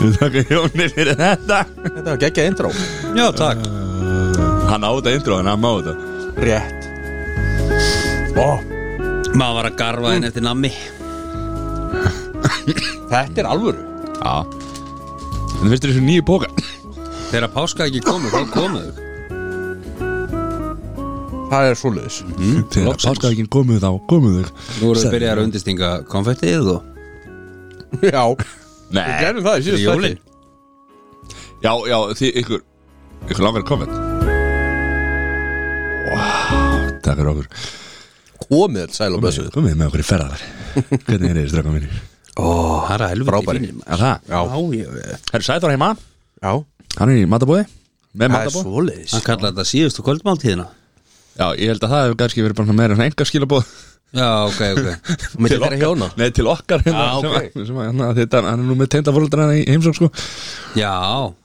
Við þakka Jóni fyrir þetta Þetta var geggja intro Já, takk Hann á þetta intro, en hann má þetta Rétt Ó, Maður var að garfa henni eftir nammi Þetta er alvöru Já En veistu þessu nýju póka Þegar páska ekki komu, þá komu þau Það er svoleiðis Þegar Loksins. páskaðekinn komuð þá, komuð þig Nú erum við byrjað að undistinga konfettið og Já, við Nei gerum það í síðust Jólin. Já, já, því ykkur Ykkur langar að koma Vá, takk fyrir okkur Komið, sæl og blessuð Komið með okkur í ferðar Hvernig er þið, strafka mínir? Ó, það er að helviti Frábæri. fínir maður. Er það? Já, Já, ég Herru Sæþór heima já Hann er í matabóði Með Það er matabóð svoleiðis Ah, Hann kallaði þetta síðustu kvöldmáltíðina Já, ég held að það hefur kannski verið bara meira enga skilabóð Já, ok, ok Mér þetta er hjóna Nei, til okkar hérna, Ah, sem, ok. að- sem að, hérna, þetta, Hann er nú með teindaforeldrana í heimsók sko. Já, ok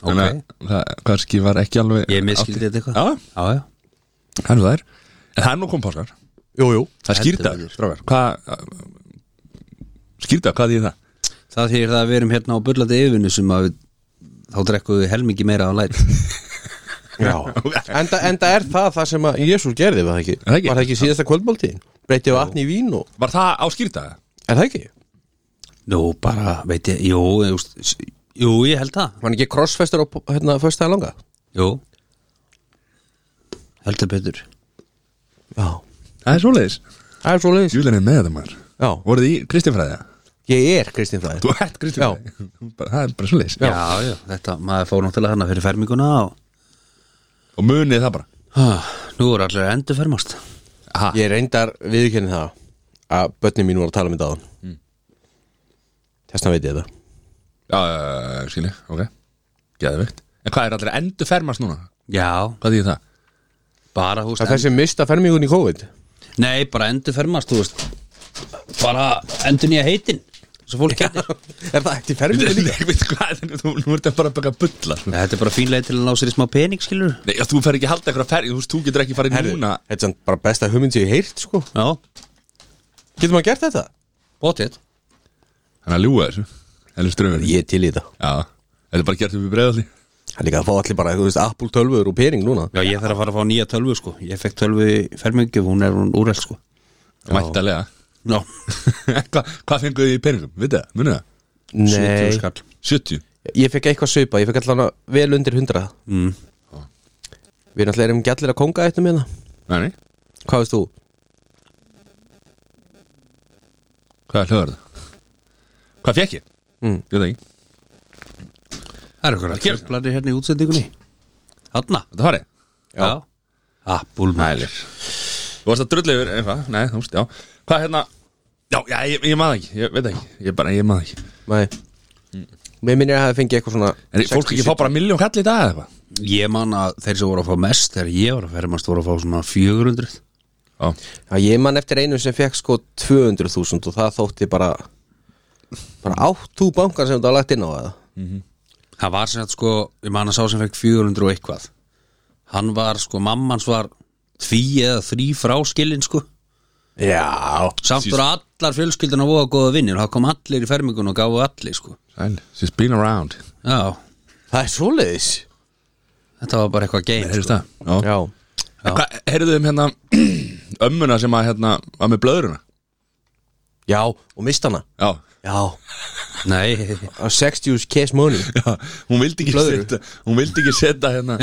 Þannig að það kannski var ekki alveg Ég miskildi þetta eitthvað Já, já, já það er nú það er En það er nú kom páskar Jú, jú Það er skýrtaður, strákar Hvað Skýrtaður, hvað þýðir það? Það þýr það að við erum hérna á bullandi yfirinu sem að við, þá drekkuðu við helmingi meira á læt Já Enda, enda er það það sem að Jésús gerði, var það ekki? það ekki? Var það ekki síðasta kvöldmáltíðin? Breytti vatni í vín og Var það á skýrtaða? Er það ekki? Nú, bara, veit ég, jú, ég veist, jú, ég held það Var hann ekki crossfester á hérna, föstaði langa? Jú Heldur betur Já Það er svoleiðis Það er svoleiðis Júlin er með þetta maður Já Voruð þið í Kristinfræðja? Ég er Kristín Fræði Þú ert Kristinfræðja Það er bara svoleiðis Já, já, þetta, maður fór náttúrulega hana fyrir ferminguna og Og munið það bara ah, Nú er allir að endurfermast ha, Ég reyndar viðkynni það að börnin mín voru að tala um þetta aðan mm. Þessna veit ég þetta Já, já, já, skilji, ok Geðvegt En hvað er allir að endur fermast núna? Já, Hvað þýðir það? bara, þú veist, Það er þessi mista fermingun í COVID en, nei, bara endurfermast, þú veist Bara endur nýja heitin Svo fólk getur Er það eftir fermingun líka? Ég veit hvað, þú, nú ert það bara að baka bulla sko. Þetta er bara fín leið til að ná sér í smá pening, skilur Nei, já, þú fer ekki að halda eitthvað ferð Þú veist, þú getur ekki farið Herðu, núna Þetta er samt bara besta hugmynd sem ég heyrt sko Já, Getur maður gert þetta? bótið Þannig að ljúga þessu Elvis dröfur Já, Ég er til í þetta þetta er bara gert upp í breiðaldi Það er líka að fá allir bara, þú veist, Apple 12 og pening núna Já, ég þarf að fara að fá nýja tölvu sko Ég fekk tölvu í fermingjöf, hún er hún úreld sko Mættalega Já, Hva, Hvað fenguðu í peningum? Vitið það? Munið það? 70 skall 70 Ég fekk eitthvað svipa, ég fekk allan að vel undir 100 mm. Við erum allir ekki allir að konga eittum hérna Nei, nei Hvað veist þú? Hvað er hljóður það? Hvað fekk ég? Mm. Ég veit það ekki Það er okkur að kjöflari hérna í útsendingunni Hanna Þetta farið? Já. Apul Nælir Þú varst að drulla yfir eitthvað Nei, þú veist, já Hvað hérna? Já, já, ég, ég maður ekki Ég veit það ekki Ég bara, ég maður ekki Nei Mér minnir að það fengi eitthvað svona Mm. En fólk ekki fá bara miljón kall í dag eða eitthvað Ég man að þeir sem voru að fá mest Þegar ég var að fermast voru að fá svona 400 Já Já, ég man eftir einu sem fekk sko 200.000 og það þótti bara bara átt þú bankar sem þetta var lagt inn á það Það var sem að sko Ég man að sá sem fekk 400 og eitthvað Hann var sko, mammans var Tví eða þrý fráskilin sko Já Samt voru allar fjölskyldun að voga góða vinnir Það kom allir í fermingun og gáðu allir sko Sæl She's been around Já, Það er svoleiðis þetta var bara eitthvað sko. game Heyrðist það? Já Já En Hvað, heyrðu um hérna ömmuna sem að hérna var með blöðruna? Já, og mist hana Já, Já Nei, 60's cash money já hún vildi ekki Blöðru? setja hún vildi ekki setja hérna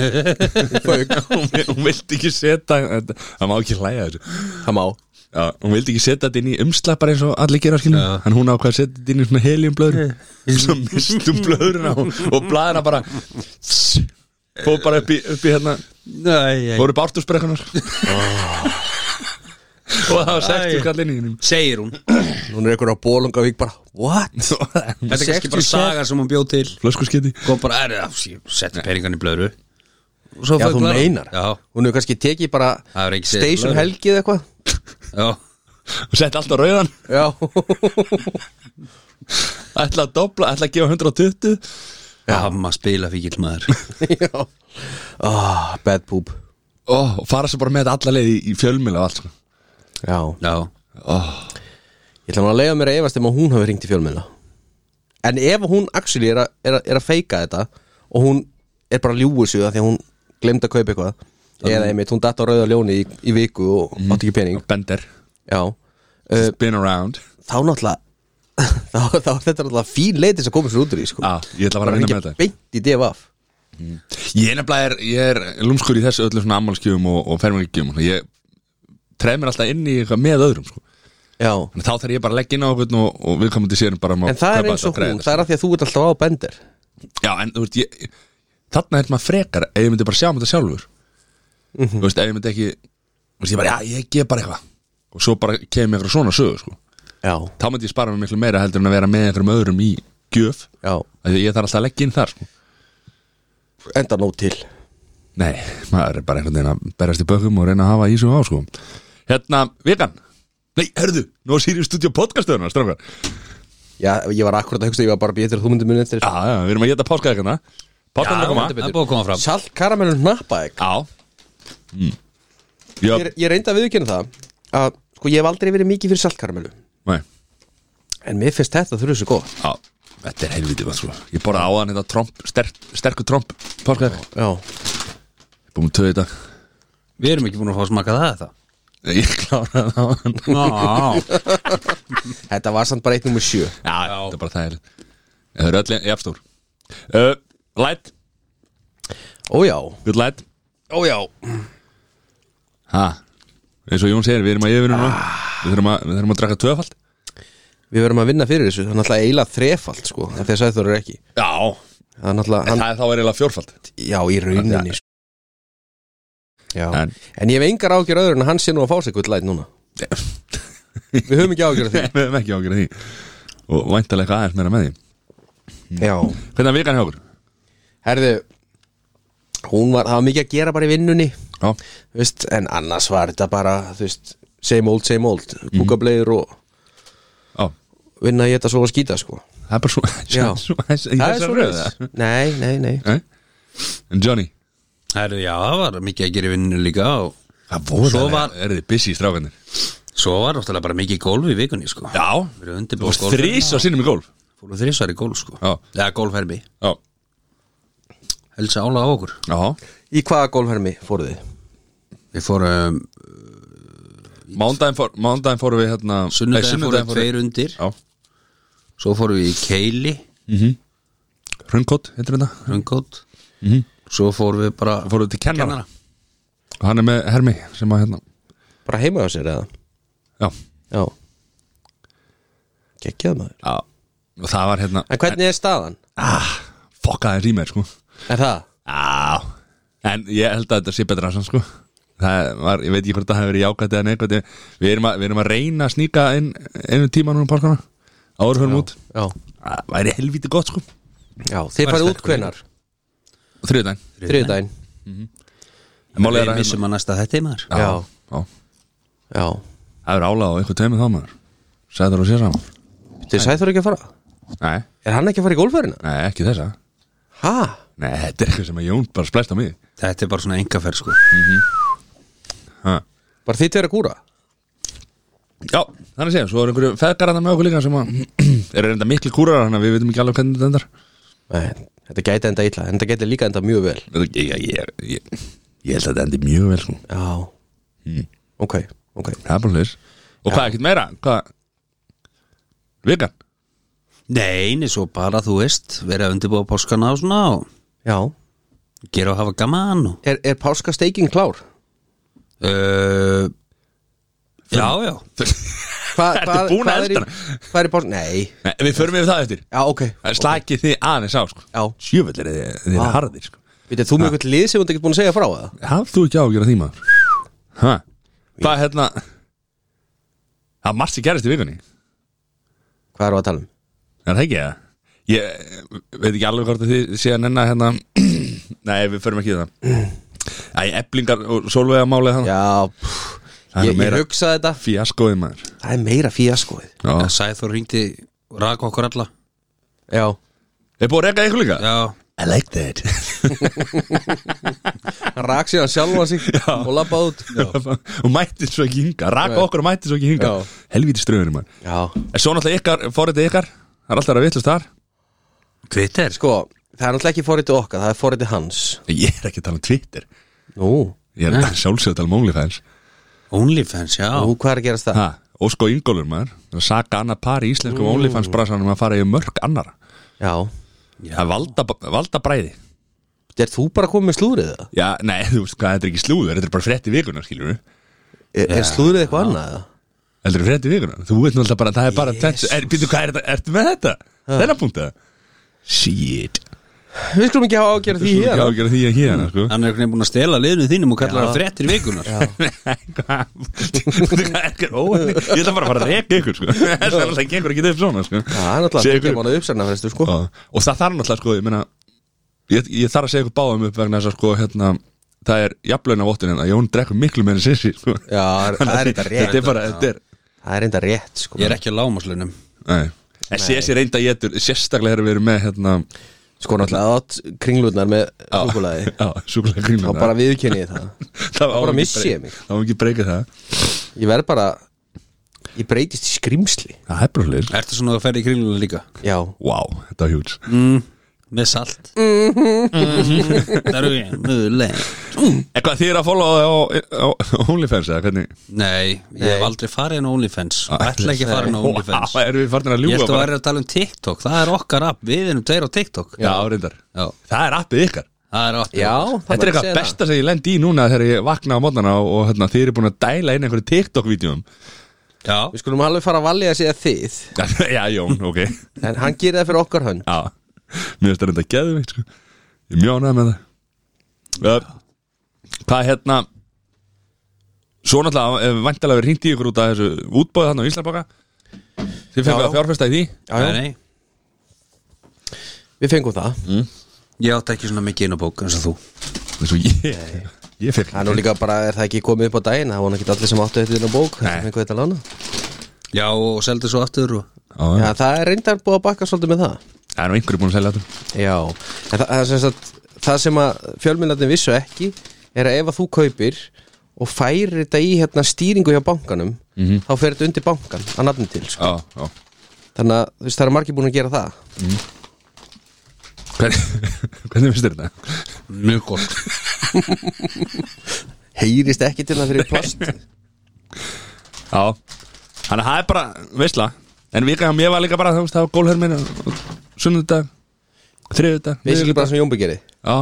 Fauk hún, hún vildi ekki setja þetta- það má ekki hlæja þessu Það má já, hún vildi ekki setja þetta inn í umslag bara eins og allir gera skilur en hún ákvað að setja þetta inn í svona helium blöðru svo mistum blöðruna og, og blæðina bara fóð bara upp í, upp í hérna Nei, voru bártusbrekkunar og það var 60 kall inn í hennum segir hún Hún er einhver á Bólungavík bara What? Þetta er kannski bara saga sem hún bjóð til flöskusketti Góð bara, er það, setja peningan í blöðru Og Svo Já, fæk þú blöðru. meinar Já, Hún hefur kannski tekið bara Það hefur ekki segið Station blöðru. helgi eða eitthvað já og sett alltaf rauðan Já ætla að dobla, ætla að gefa 120 Já, maður spila fíkil maður Já oh, Bad poop oh, og fara svo bara með þetta alla leið í, í fjölmjöla og allt sko. Já Já, Ég ætla nú að leiða mér að efast um að hún hafi ringt í fjölmiðla en ef hún actually er, a, er, a, er að feika þetta og hún er bara ljúið sig því að hún glemd að kaupa eitthvað eða einmitt, hún datt á rauða ljóni í, í viku og Mhm. átti ekki pening Bender, já, uh, been around þá náttúrulega þá, þá er þetta náttúrulega fín leið til þess að koma sér út úr því sko. Já, Ah, ég ætla bara að Bara vinna ringja með þetta beint í DFF Ég er nefnilega, er, ég er lúmskur í þessu öllu svona ammálskjöfum og, og fermingskjöfum Ég treð mér alltaf inn í eitthvað með öðrum sko. já, En þá þarf ég bara að leggja inn á okkur og, og við komum til sérum bara um að en það er kaupa eins þetta, og treða hún þetta. það er að því að þú ert alltaf á bender Já, en þú veist, ég, þarna er maður frekar ef ég myndi bara sjá um þetta sjálfur Mhm. Þú veist, ef ég myndi ekki Þú veist, ég bara, já, ég gef bara eitthvað Og svo bara kemur eitthvað svona sögur, sko já, Þá myndi ég spara mig miklu meira heldur en að vera með einhverjum öðrum í gjöf já, af Því að ég þarf alltaf að leggja inn þar, sko enda nóg til Nei, maður er bara einhvern veginn að berast í bökum og reyna að hafa í svo á, sko Hérna, vikan Nei, hörðu, nú er Sirius Studio podcastöðuna, strákar já, ég var akkurat að hugsa, ég var bara býttur að þú myndir muni eftir Já, já, við erum að geta páska eitthvað Páskan er að koma það er búið að koma fram salt karamellur hnappa ekki Já Mm. Jöp, ég, ég reyndi að viðkynna það að sko ég hef aldrei verið mikið fyrir saltkaramellu nei en mér finnst þetta þurfið svo góð Já, þetta er helviti vatn sko Ég borða á hann þetta tromp, sterk, sterkur tromp Páskar, já, búum töði þetta Við erum ekki búin að fá að smaka það eða Ég kláraði það á hann Já, Ná, þetta var samt bara eitt nummer sjö þetta er bara það er Það eru öll jafnstór uh, Light, ójá, good light ójá Ha, eins og Jón segir, við erum að yfirinu núna Við þurfum að, við þurfum að draka tvöfald við verðum að vinna fyrir þessu, það er náttúrulega eiginlega þrefald sko, en þess að það eru ekki Já, það er náttúrulega, en hann, það er þá er eiginlega fjórfald já í rauninni sko. já, En- en, ég hef engar ágjör öðru en hann sé nú að fá sig gull læt núna við höfum ekki ágjör því Við hefum ekki ágjörð því Og væntalega eitthvað aðeins meira með því já, Hvernig er vikan hjá okkur? herðu hún var, það var mikið að gera bara í vinnunni Já, Þú veist, en annars var þetta bara þú veist, same old, same old kúkableir og já vinna í þetta svo að skýta sko. Það er bara svo, Já. svo, svo í þessari röð, svoleiðis. eða? nei, nei, nei Nei? En Johnny herri, já, það var mikið að gera í vinninu líka og Það voru Svo það, var- er þið busy í strákanir svo var náttúrulega bara mikið gólf í vikunni sko Já, Við erum þú undirbúið varst þrís á sinnum í gólf Fórum þrísvar í gólf sko Já. Eða gólfhermi Já, Helsa ála á okkur já, í hvaða golfhermi fóruð þið? Við fórum mándaginn fór, mándaginn fórum við hérna nei, sunnudaginn fórum við- tveir undir Já, Svo fórum við í Keili hröngkott, heitir þetta Röngkótt Svo fórum við bara Svo fórum við til kennara. Og hann er með Hermi sem að hérna bara heima á sér eða? Já, já geggjað maður já Og það var hérna en hvernig er staðan? ah, Fokka þess í mér sko er það? Já En ég held að þetta sé betra sann sko Það var, ég veit ekki hvort það hefur verið jákvæmt eða neikvæmt Ég- Við erum að, við erum að reyna að sníka inn einu tíma núna um páskana Áður hörum út já, Það væri helvítið gott sko já þið farið út hvenar? Þriðdæn þriðdæn Málið Við er að missum að næsta þetta maður Já, Já. já. já Það er álag á einhver tveimur þá maður Sæður og sér saman þið sæði þurfa ekki að fara Nei, er hann ekki að fara í golfhermina? nei ekki þessa ha? Nei, þetta er eitthvað sem að Jón bara splæst á mig Þetta er bara svona engaferð sko ha. bara þið tveir að kúra? Já, þannig séum, svo er einhverju feðgar að með okkur líka sem að eru reynda miklu kúrar þannig að við veitum ekki alveg hvernig þetta endar nei, þetta gæti enda illa en þetta gæti líka enda mjög vel Ég, ég, ég, ég, ég held að þetta endi mjög vel sko. já Hmm. ok, ok Það er bara hlis Og hvað ekkert meira? Hvað? Vikan? Nei, einu svo bara, þú veist, verið að undirbúa páskana og svona og já gera og hafa gaman og Er, er páskasteikin klár? uh, Já, já Hva, Ertu búin að hvað er í- elda Hvað er í pásk... Nei Nei, við förum yfir það eftir Já, ok Það er Slakið þið aðeins á sko. Já. Sjöfell er þið, þið er harðir sko. Vitið, þú mjög eitthvað lið sem þú ert ekki búin að segja frá það Hafðu þú ekki á að gera því maður? Hæ? Hvað er hérna? Það er margt sem gerist í vikunni Hvað erum við að tala um? Er það ekki það? Ég veit ekki alveg hvort að þið sé að nenna hérna Nei, við förum ekki í það Æ, eblingar og sólvegamálið hann Já, pff, Það er ég, ég meira- hugsa þetta Fíaskoðið maður Það er meira fíaskoið Já. uh, Sæþór ringdi rak okkur alla Já Er búið að reka ykkur líka? Já, I like that Hann rak síðan sjálfa sig og labba út Já, Og mætti svo ekki hinga Raka okkur og mætti svo ekki hinga Já. Helvíti ströðurinn maður já, En svo náttúrulega ykkar, fórið ykkar Það er alltaf að vitlust þar Twitter sko Sko, það er náttúrulega ekki forritið okkar, það er forritið hans Ég er ekki að tala um Twitter Nú, Ég er sjálfsögð að tala um OnlyFans Onlyfans, já nú hvað er að gerast það? ha, Og sko yngolur maður Það Saka annað par í íslenskum OnlyFans brasanum að fara í mörg annara Já, Það er valda, valda bræði er þú bara komið með slúrið það? Já, nei, þú veist hvað, þetta er ekki slúður Þetta er bara frétti vikuna, skiljum við Er, er slúrið eitthvað annað eða? Þetta er frétti vikuna Þú veit náttúrulega bara, það er bara yes. er, Býttu, hvað er þetta, ertu með þetta? Þennan punkt það? Shit Við skulum ekki hafa ágjörð því Þú hér ekki ágjöra því að hérna, sko Hann er einhvern veginn búin að stela liðinu þínum og kallar Já. það frettir vikunar Hvað? Býttu, hvað er ekki óhenni? Ég ætla bara að fara að reka ykkur, sko Það er alltaf gengur ekki upp svona, sko Það er Segðu náttúrulega ykkur- ekki mánuð uppsarna fyrstu sko Já, og það þarf náttúrulega sko, ég meina ég, ég þarf að segja ykkur báðum upp vegna þess að sko, hérna, það er jafnlauna vottunin að Jón drekkur miklu meira en sissi sko. Já, það er- það er þetta þetta er rétt bara, þetta er Það er enda rétt sko Ég er ekki að lámaslunum nei. en sissi reynda getur, sérstaklega þegar við erum með hérna, Sko náttúrulega átt kringlutnar með súkulaði já, súkulega grínum Þá bara viðkynni ég það það bara var missi ég mig. það var ekki breykað það Ég verð bara Ég breytist í skrimsli það er bara hlut, Ertu svona að ferði í kringluna líka? Já wow, þetta var hjúts Mm. Með salt Það eru ég Möguleg eitthvað þið er að followa á, á, á OnlyFans eða hvernig Nei, ég hef aldrei farið inn á Onlyfans Ætla ekki að fara inn á Onlyfans wow, erum við farin að Ég ljúga ætla að bara? vera að tala um TikTok Það er okkar app, við erum tveir á TikTok já, reyndar, Já. það er appið ykkar Það er okkar Já Þetta er eitthvað besta sem ég lendi í núna þegar ég vakna á mótnana og, og hérna, þið eru búin að dæla inn einhverju TikTok-vídeum Já, Við skulum alveg fara að valja að segja þið Já, Jón, ok Já, En hann gerir það fyrir okkar hönd mér finnst það reynda að geðu mig sko. Ég er mjög ánægð með það uh, Hvað hérna Svo náttúrulega eh, væntanlega við hringt í ykkur út af þessu útbóðið þarna á Íslandbaka Þið fyrir Já. að fjárfesta í því Já, já. nei, nei Við fengum það Mm. Ég átti ekki svona mikið inn á bók eins og þú eins og ég, ég fyrir Það er nú líka bara, er það ekki komið upp á daginn Það var ekki allir sem áttu þetta inn á bók Nei. Það fengum þetta lána Já, og seldi svo aftur og... Já, Já, það er reyndar búið að bakka svolítið með það Það er nú einhverju búin að selja þetta Já, en það, það, sem sagt, það sem að fjölminnarnir vissu ekki er að ef að þú kaupir og færir þetta í hérna stýringu hjá bankanum þá fer þetta undir bankan að nafni til sko. Já, já þannig að þú veist, það er margir búin að gera það Hvernig, hvernig finnst þér þetta? Mjög gott heyrist ekki til það fyrir plast Já, þannig að það er bara veistla En vika hjá mér var líka bara þú veist, það var gólhermin Sunnudag, þriðudag við ekki bara sem Jónby gerir Já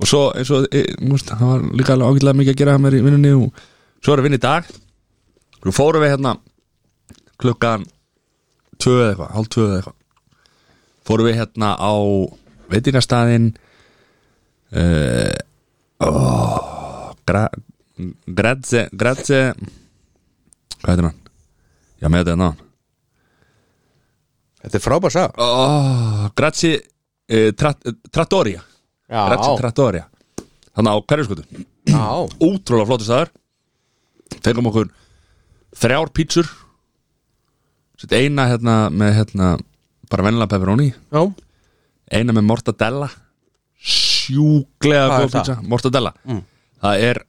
Og svo, eins og, e, múst, það var líka alveg ágætlega mikið að gera hjá mér í vinnunni og svo erum við inn í dag Svo fórum við hérna klukkan tvö eða eitthvað, hálf tvö eða eitthvað Fórum við hérna á veitingastæðin uh, oh, gra, Grazie Grazie Hvað heitir hann? Já, með þetta hérna þetta er frábær sá oh, Grazie uh, trat, Trattoria Já. Grazie Trattoria Þannig á hverjuskotu Já, Ótrúlega flottur staðar Fengum okkur þrjár pítsur Sett eina hérna með hérna bara vennilega pepperoni já, eina með mortadella sjúklega Hvað er góð það? Mm. pizza mortadella það er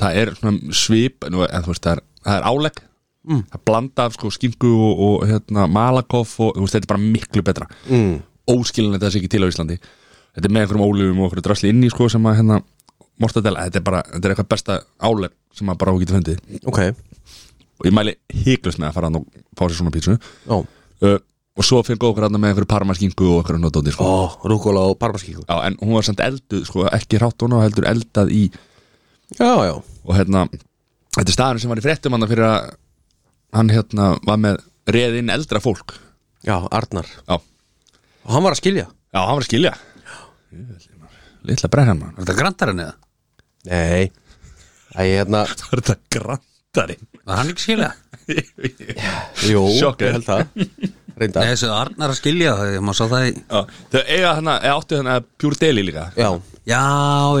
það er svona svip nú, en þú veist það er, það er álegg Mm. það er blanda af sko skinku og, og hérna malakoff og þú veist þetta er bara miklu betra mm. óskilinlega þessi ekki til á Íslandi þetta er með einhverjum ólifum og einhverju drasli inn í sko sem að hérna mortadella þetta er bara þetta er eitthvað besta álegg sem maður bara á getur fundið ok og ég mæli hygglust með að fara að fá sér svona pítsu Já, uh, og svo fengið okkur hérna með einhverju parmaskinku og einhverju notóti sko ó, rúkóla og parmaskíku Já, en hún var samt elduð, sko, ekki rátt hún á heldur eldað í Já, já, og hérna, þetta er staðan sem var í fréttum hann fyrir að hann hérna var með reðin eldra fólk já, Arnar Já, já, Og hann var að skilja hann var að skilja Jöfull, maður. Litla brennan mann Var þetta grandarinn eða? Nei, það er hérna Það er þetta grantari Var hann ekki skilja? Jú, Sjokker. ég held það Nei, Reyndar, þessu Arnar að skilja það ég maður sá það í Þau eiga hana, eða áttu hana Pure Daily líka já Já,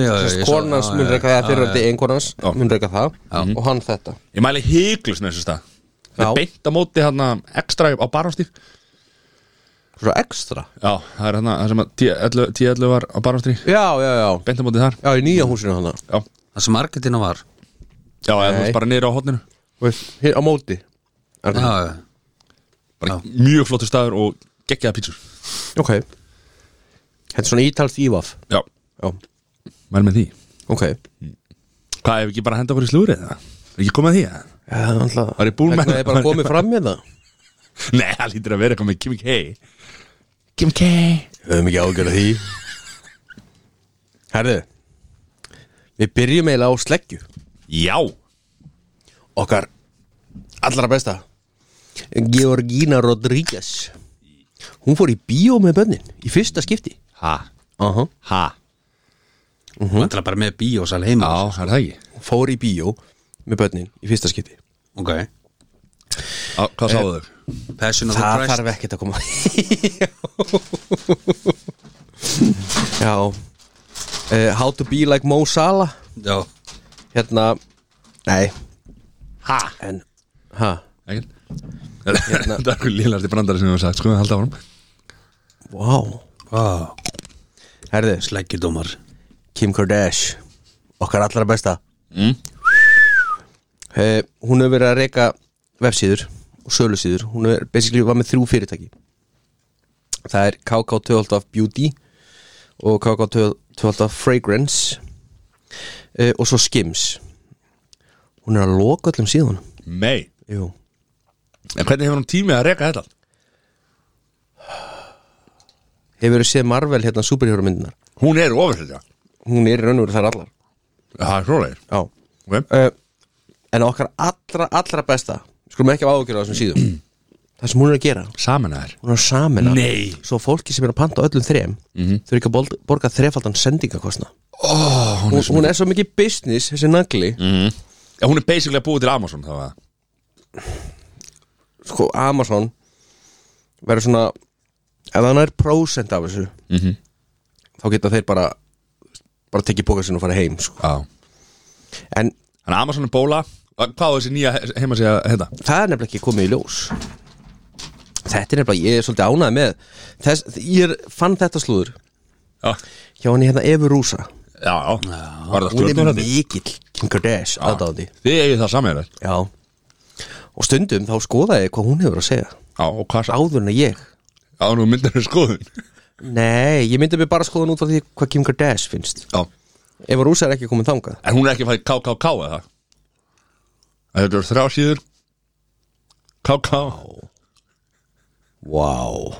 já, já ég sá- konans já, mun já, reyka já, það fyrir já. að einkonans mun reyka það og hann þetta Ég mæli hygglust með þessu stað Það Já. er beint á móti hana ekstra á barhástík svo ekstra Já, það er hana, það sem að 10-11 var á barhástík já, já, já, Beint á móti þar já, í nýja húsinu hann Já, Það sem marketina var já, eða þú Nei. veist bara niður á hotninu hér á móti Já, já bara mjög flottur staður og geggjaða pítsur Ok Þetta er svona ítalt ívaf Já, Já, mæl með því ok Já, Hvað, ef ekki bara henda okkur í slúrið það? Er ekki komið að því að? það er alltaf Var ég búinn með- Vegna Það er bara komið fram hérna. með það Nei, það lítur að vera eitthvað með Kim K Kim K Við höfum ekki ágjörð því Herðu Við byrjum eiginlega á sleggju Já Okkar allra besta Georgina Rodríguez Hún fór í bíó með bönnin Í fyrsta skipti Ha, Aha. ha Hún ætla bara með bíósal heima Já, það er það ekki Hún fór í bíó með bönnin Í fyrsta skipti Ok Á, Hvað sáðu þau? Passion of the Það Christ þarf ekkert að koma Já uh, How to be like Mo Salah Já Hérna Nei Ha Hérna. En Hæ Ekkert Þetta er eitthvað lílarti brandari sem við sagt Skoðum við halda á honum Vá wow. wow. Herðu Sleggjudómar Kim Kardashian Okkar allra besta Mm. Eh, Hún hefur verið að reyka vefsíður og sölusíður Hún er basically var með þrjú fyrirtæki Það er KK12 Beauty og KK12 Fragrance eh, og svo Skims Hún er að loka öllum síðan Nei Jú En hvernig hefur hún tími að reka þetta? Hefur séð Marvel hérna superhjóra myndinar Hún er ofurhildja Hún er í raun og veru þar allar Það er svoleiðir Já Ok uh, En okkar allra, allra besta Skulum ekki af ágjörða þessum síðum Það sem hún er að gera Samanæður Hún er að samina Nei. Mhm. Svo fólki sem er að panta á öllum þrem mm -hmm. Þau eru ekki að bol- borga þrefaldan sendingakostna oh, hún, hún er svo mikið business Þessi nagli Mm. Já, hún er basically að búið til Amazon þá að Sko Amazon Verður svona Ef hann er prósent af þessu Mhm. Þá geta þeir bara Bara tekið bóka sinni og fara heim sko. Já En Þannig að Amazon er bóla Hvað á þessi nýja heima segja þetta? það er nefnilega ekki komið í ljós Þetta er nefnilega, ég er svolítið ánægð með Þess, Ég er, fann þetta slúður Já, Hjá henni hérna Efu Rúsa já, Var það Hún stjórnum er þetta? mikill Kim Kardashian aðdáði Þið eigið það samanæður Já Og stundum þá skoðaði ég hvað hún hefur að segja Já, og hvað sá? Áður en að ég Já, nú myndar við skoðun Nei, ég myndi mig bara skoðan út frá því hvað Kim Kardashian finnst Já Efu Rúsa er ekki komið þangað En hún er ekki að fara í KKK eða það? Að Þetta eru þrjá síður KK Vá wow.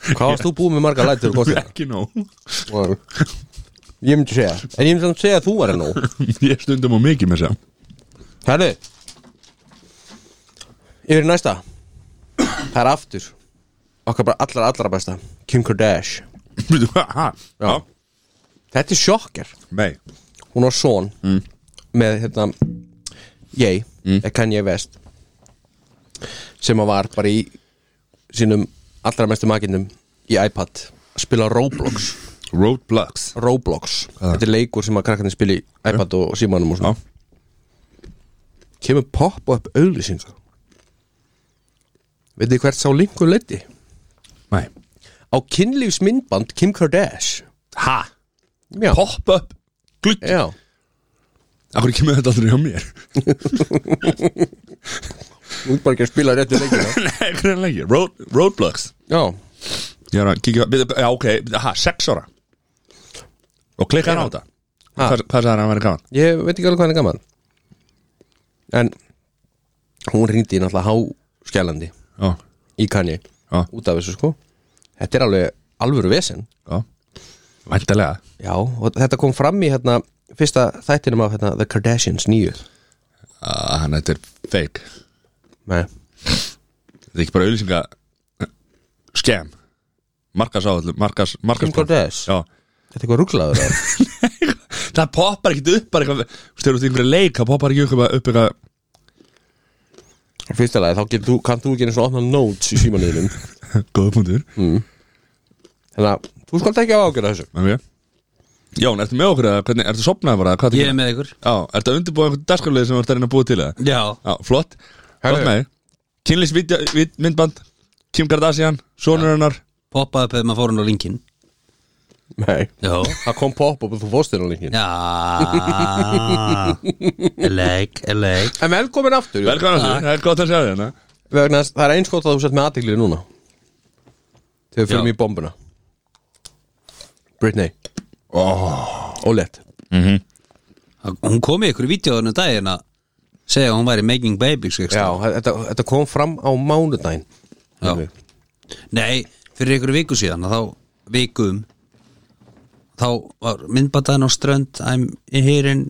Hvað varst þú búið með marga lætur og góðslega? Ekki nóg Ég myndi segja En ég myndi samt segja að þú var nú Ég er stundum og mikið með sem Herðu Yfir í næsta Það er aftur Okkar bara allra allra besta Kim Kardashian Veitu hvað? Ha? Já. Þetta er sjokkar Nei Hún á son mm. Með hérna Ég mm. Kanye West Sem að var bara í Sínum allra mestu makinnum Í iPad að Spila Roblox Roadblocks Roblox Þetta er leikur sem að krakkarnir spila í iPad og símanum og Já svona Ah. Kemur pop-up auðlýsingu Veitir hvert sá linkur leiti? Nei á kynlífsmyndband Kim Kardashian Ha? Já, Pop-up Glugg já. Akkur kemur þetta aldrei hjá mér Nú er bara ekki að spila réttu leikina Nei, hvernig lengi Road, Roadblocks Já, Ég er að kíkja við- Já, ok Ha, sex ára Og klikka hann á þetta Ha. Hvað hvað sagði hann að vera gaman? ég veit ekki alveg hvað hann er gaman En hún ringdi í náttúrulega háskjælandi Já í kanni Já. út af þessu sko Þetta er alveg alvöru vesen Já Væntalega Já, og þetta kom fram í hérna fyrsta þættinum af hérna, The Kardashians nýju Ah, Hann, þetta er fake Nei, Þetta er ekki bara auðlýsinga Skem Markas áhaldum Markas Markas Kim Kardashian Já Þetta er eitthvað rugglaður á Það poppar ekkit upp bara eitthvað Þú styrir út í einhverja leik Það poppar ekki upp upp eitthvað Fyrsta lagi, þá getur þú, kannt þú ekki einu svona opna notes í símanuðinum Góða punktur Þannig að þú skalt ekki ágjöra þessu okay. Jón, ertu með okkur eða hvernig, ertu sopnað bara hvað ertu að gera? Ég er með ykkur Já, ertu að undirbúa einhvern dagskarlega sem þú ert að reyna að búa til eða? Já Já, flott, Herðu. flott með Kynlýsmyndband, Kim Kardashian Sonur hennar, Poppaði upp eða maður fór hann á linkin Nei Já Það kom pop-up og þú fórst þér á linkin Já Leik, leik En velkomin aftur velkvæðan þessu, það er gott að sjá þér hérna Vegna þess- Það er einskott að þú sett með aðtiklið núna Þegar við fyrir Já. í bombuna Britney oh. Ólétt Hún kom í ykkur í vídeoðunum um daginn að segja að hún væri making sko, babies einhvers Já, staðar. þetta, þetta kom fram á mánudaginn Já. Nei, fyrir ykkur viku síðan að þá vikum þá var myndbataðin á strönd I'm here in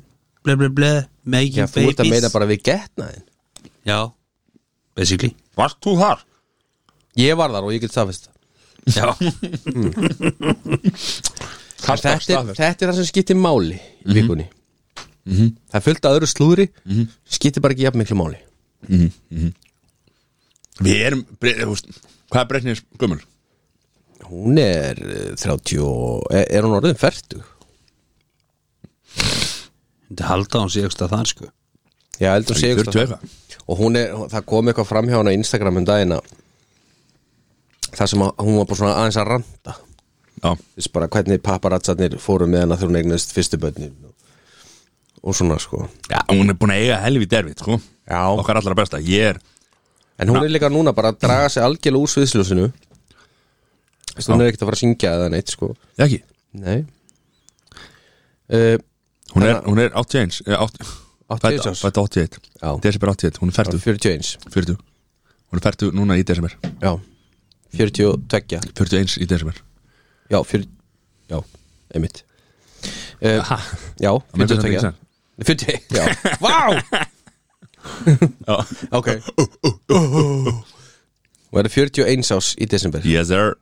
ble ble ble making Já, þú ert að babies meina bara við getnaðinn Já, basically Varst þú þar? Ég var þar og ég get staðfest það. Já, Kast þetta, er, þetta er það sem skiptir máli Mhm. í vikunni Það er fullt að öðru slúðri skiptir bara ekki jafn miklu máli Við erum, bre- þú veist, hvað er breytnis gömul? Hún er eh, 30 og, er, er hún orðin 40? þetta halda hún síðast að það sko Já, heldur hún sé eitthvað 40 eitthvað og hún er, það kom eitthvað fram hjá hann á Instagram um daginn að það sem að, hún var bara svona aðeins að randa Já, þess bara hvernig paparazzarnir fóru með hana þegar hún eignast fyrstu bönnin og, og svona sko Já, hún er búin að eiga helvi derfið, sko Já. Okkar allra besta, ég er en hún er líka núna bara að draga sig algjörlega úr sviðsljósinu Þess, hún er ekkert að fara að syngja eða neitt sko Já, ekki nei uh, Hún er, hún er 81 eh, átt- 81 fædd- árs. Fædd 81 Já. Desember 81, hún er 40 41 40 Hún er 40 núna í desember já 42 41 í desember já, 40, já, einmitt uh, Ha, já, meikar samt ekki 42 sens. 40, já, vá já Ok Og er 41 ás í desember Yes, sir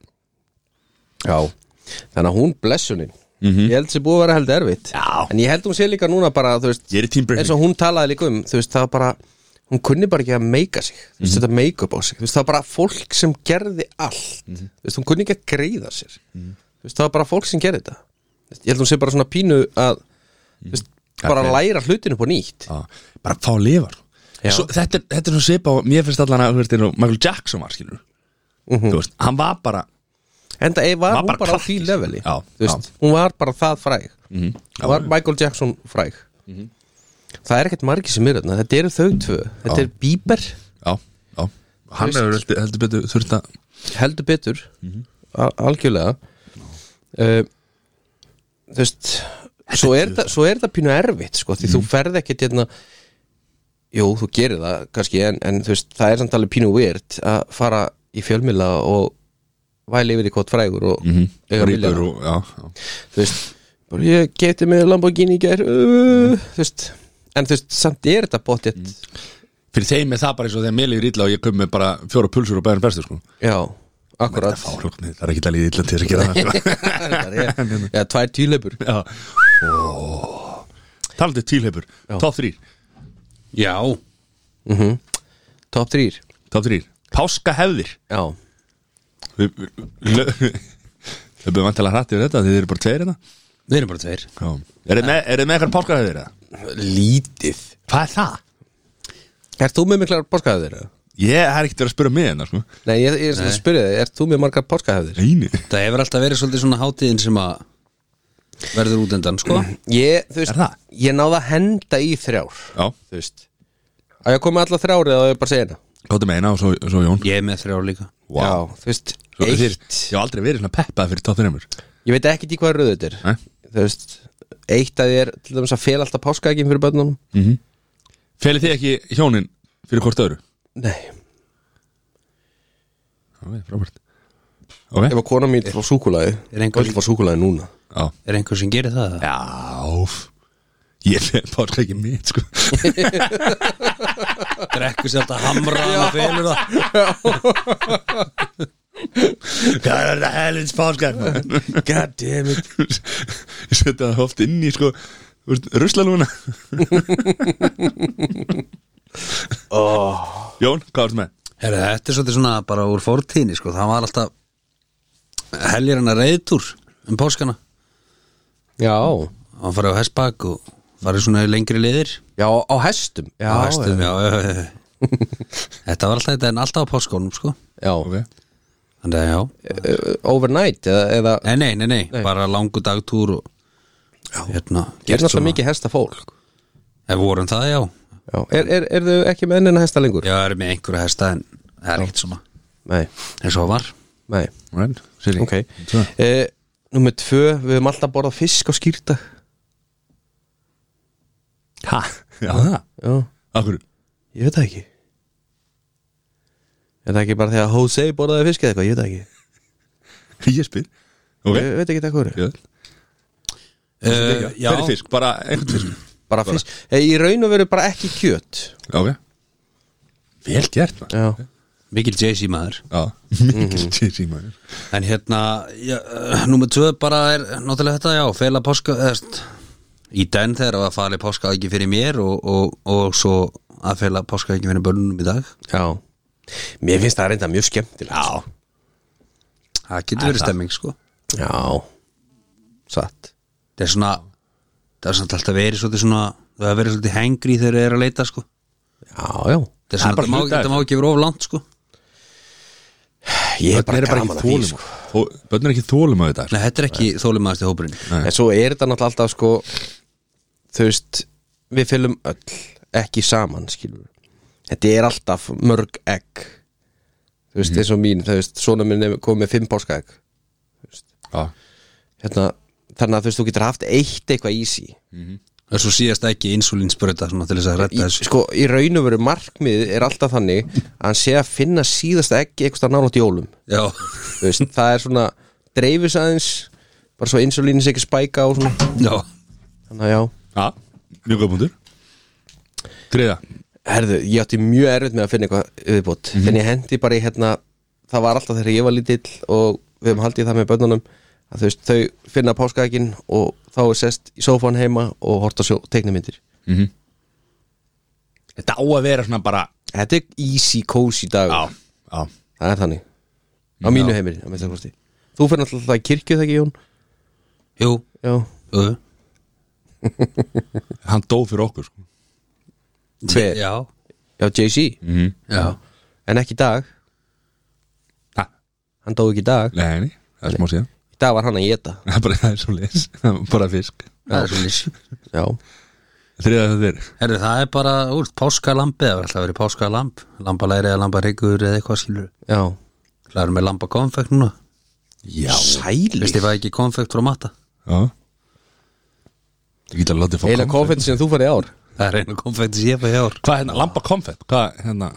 Já Þannig að hún blessunin mm Ég held sér búið að vera held erfitt Já. En ég held hún sé líka núna bara þú veist, Ég er í tímbreytning eins og hún talaði líka um þú veist, það var bara, hún kunni bara ekki að meika sig mm Mhm. -hmm. þetta make-up á sig þú veist, það var bara fólk sem gerði allt Mhm. þú veist, hún kunni ekki að greiða sér þú veist, það var bara fólk sem gerði þetta Þú veist, ég held hún sé bara svona pínu að þú veist, bara Gagnrýni. læra hlutinu på nýtt Mhm. Já, bara fá að lifa Já. svo, þetta, er- þetta er svo svipa og mér finnst allan að þú veist, eins og Michael Jackson var skilur þú veist, hann var bara En það var, Var hún bara bara á krakki, því sko. leveli Já, Mhm. Þú veist, Hún var bara það fræg Hún var Michael Jackson fræg Það er ekkert margir sem er þarna Þetta eru þau tvö Þetta er Bieber, já, já hann Þú hefur heldur, heldur betur þurft að heldur betur al Algjörlega uh, Þú veist Svo er, það, svo er það pínu erfitt sko, Því þú ferð ekkert hérna Jú, þú gerir það kannski En, en þú veist, það er samt alveg pínu weird Að fara í fjölmila og Væli yfir í hvort frægur og mm Mhm. -hmm. ríkur og, já, já. þú veist bara ég geti með Lamborghini í gær uh, þú veist en þú veist samt er þetta bóttið fyrir þeim er það bara eins og þegar mér líður illa og ég kom með bara fjóra pulsur og bæðin bestu sko já það akkurat er fárlokk, það er ekki að líða illa til þess að gera það sko. já tvær tíleipur já talandi tílheipur, top 3 Já, top 3 top 3, páska hefðir já við höfum vantilega hrætt yfir þetta því þið eru bara tveir hérna við erum bara tveir Já. er þið með, eruð með eitthvað páska hefðir það? lítið Hvað er það? er þú með miklar páskaðir eða? Ég það er ekkert verið að spyrja mig hérna sko. nei ég, ég Nei. spyrir þig er þú með margar páskaðir Einu Það hefur alltaf verið svolítið svona hátíðin sem að verður út undan sko ég þú Er það? veist ég náða að henda í þrjár Já, þú veist að ég komið alla þrjár eða á ég bara segja hérna gáttum eina og svo, svo Jón Ég er með þrjá líka Vá. já þú veist Svo þeir- eitt Ég hef aldrei verið svona peppað fyrir top 3 ég veit ekki í hvað röðu þetta er Nei. þú veist eitt að þið er til dæmis að fel alltaf páskaeggjum fyrir börnunum Mhm. Felið þið ekki hjónin fyrir hvort öðru? nei Já, frábært Ok, ef að kona mín frá súkulaði Er einhver- frá súkulaði núna já Er einhver sem gerir það? Já, f- ég er páska ekki mitt sko Drekkur sér alltaf hamra og felur það Hvað er þetta helins páska? Ég god damn it setja það oft inn í sko Ruslalúna oh. Jón, hvað ertu með? Herra, þetta er svolítið svona bara úr fórtíðinni sko. það var alltaf helgir hennar reyðtúr um páskana já hann farið á hestbak og farið svona í lengri liðir já á hestum já á hestum, já, já, já, já. þetta var alltaf þetta en alltaf á páskunum sko. já Okay. þannig að já, Eh, overnight eða, eða nei, nei, nei, nei, bara langu dagtúr og hérna, er gert náttúrulega svona mikið hesta fólk ef vorum það, já, já er, er, er þau ekki með ennina hesta lengur já, erum við einhverja hesta en það er ekkert svona nei eins og var Nei, right, Siri ok Tvö. eh, Númer tvö, við höfum alltaf borðað fisk á skýrta Ha, já það Já, Akkur, ég veit það ekki Er það ekki bara þegar Jose borðaði fisk eða eitthvað, ég veit það ekki ég spyr Ok, Ég veit ekki það hverju ég uh, Já, Fyrir fisk, bara einhvern fisk Bara fisk, hey, í raun og veru bara ekki kjöt Já, ok Vel gert maður Já, mikil Jay-Z maður Já, mikil tísi maður En hérna, já, númer tvö bara er náttúrulega þetta, já, fela páska eðst, í den þegar að fali páska ekki fyrir mér og, og, og svo að fela páska ekki fyrir börnunum í dag já Mér finnst það reynda mjög skemmtilegt Já Það getur verið stemming, sko Já Satt Það er svona, það er svona alltaf verið svolítið svona, það er verið svolítið hengri þegar það er að leita, sko Já, já Það er Það er svona, bara þetta má, hluti af þetta má ekki vera of langt, sko Ég er Börn bara eru bara gaman ekki að því þólum sko. sko. Börn eru ekki þólum að þetta Nei, þetta er ekki þólimaðasti hópurinn En svo er þetta náttúrulega alltaf sko Þú veist Við fylgum öll ekki saman skilur við. Þetta er alltaf mörg egg Þú veist eins og mín Þú veist svona minn er komið með fimm páska egg Já, hérna, Þannig að þú veist þú getur haft eitt eitthvað í sí Það er svo síðast ekki insulinsbröta svona til þess að í, retta þessu Sko í raun og veru markmið er alltaf þannig Að hann sé að finna síðasta egg Eitthvað nálaðt jólum Já, Þú veist, Það er svona dreifis aðeins Bara svo insulínis ekki spæka og svona já Þannig að já já, mjög góð punktur Greiða Herðu, ég átti mjög erfitt með að finna eitthvað viðbútt Þannig ég hendi bara í hérna Það var alltaf þegar ég var lítill og við höfum haldið það með börnunum að þú veist, þau finna páskaækin og þá er sest í sófan heima og horta svo teiknumyndir Mhm. Þetta á að vera svona bara Þetta er easy, cozy dag Já, já Það er þannig Á mínu heimili, að minnsta kosti Þú fyrir alltaf í kirkju þegar Jón Jú, Já, jú Hann dó fyrir okkur sko. Hver? Já, já Jay-Z mm -hmm. já En ekki í dag, Ha, hann dói ekki í dag nei, nei, það er smá síðan Í dag var hann að geta Það er bara, það er svo leis Bara fisk Það er svo lýs Já, Þriða þetta verið Herru, það er bara, úr, páskalambið Það var alltaf að vera páskalamb Lambalæri eða lambaryggur eða eitthvað skilur já Það er með lambakonfekt núna Já Sæli Veist ég fæ ekki konfekt frá matta Já Ég get að láta þið fá Eila konfetti sem þú farið í ár Það er einu konfekt sem ég fæ í ár Hvað hérna, lampa konfett Hvað hérna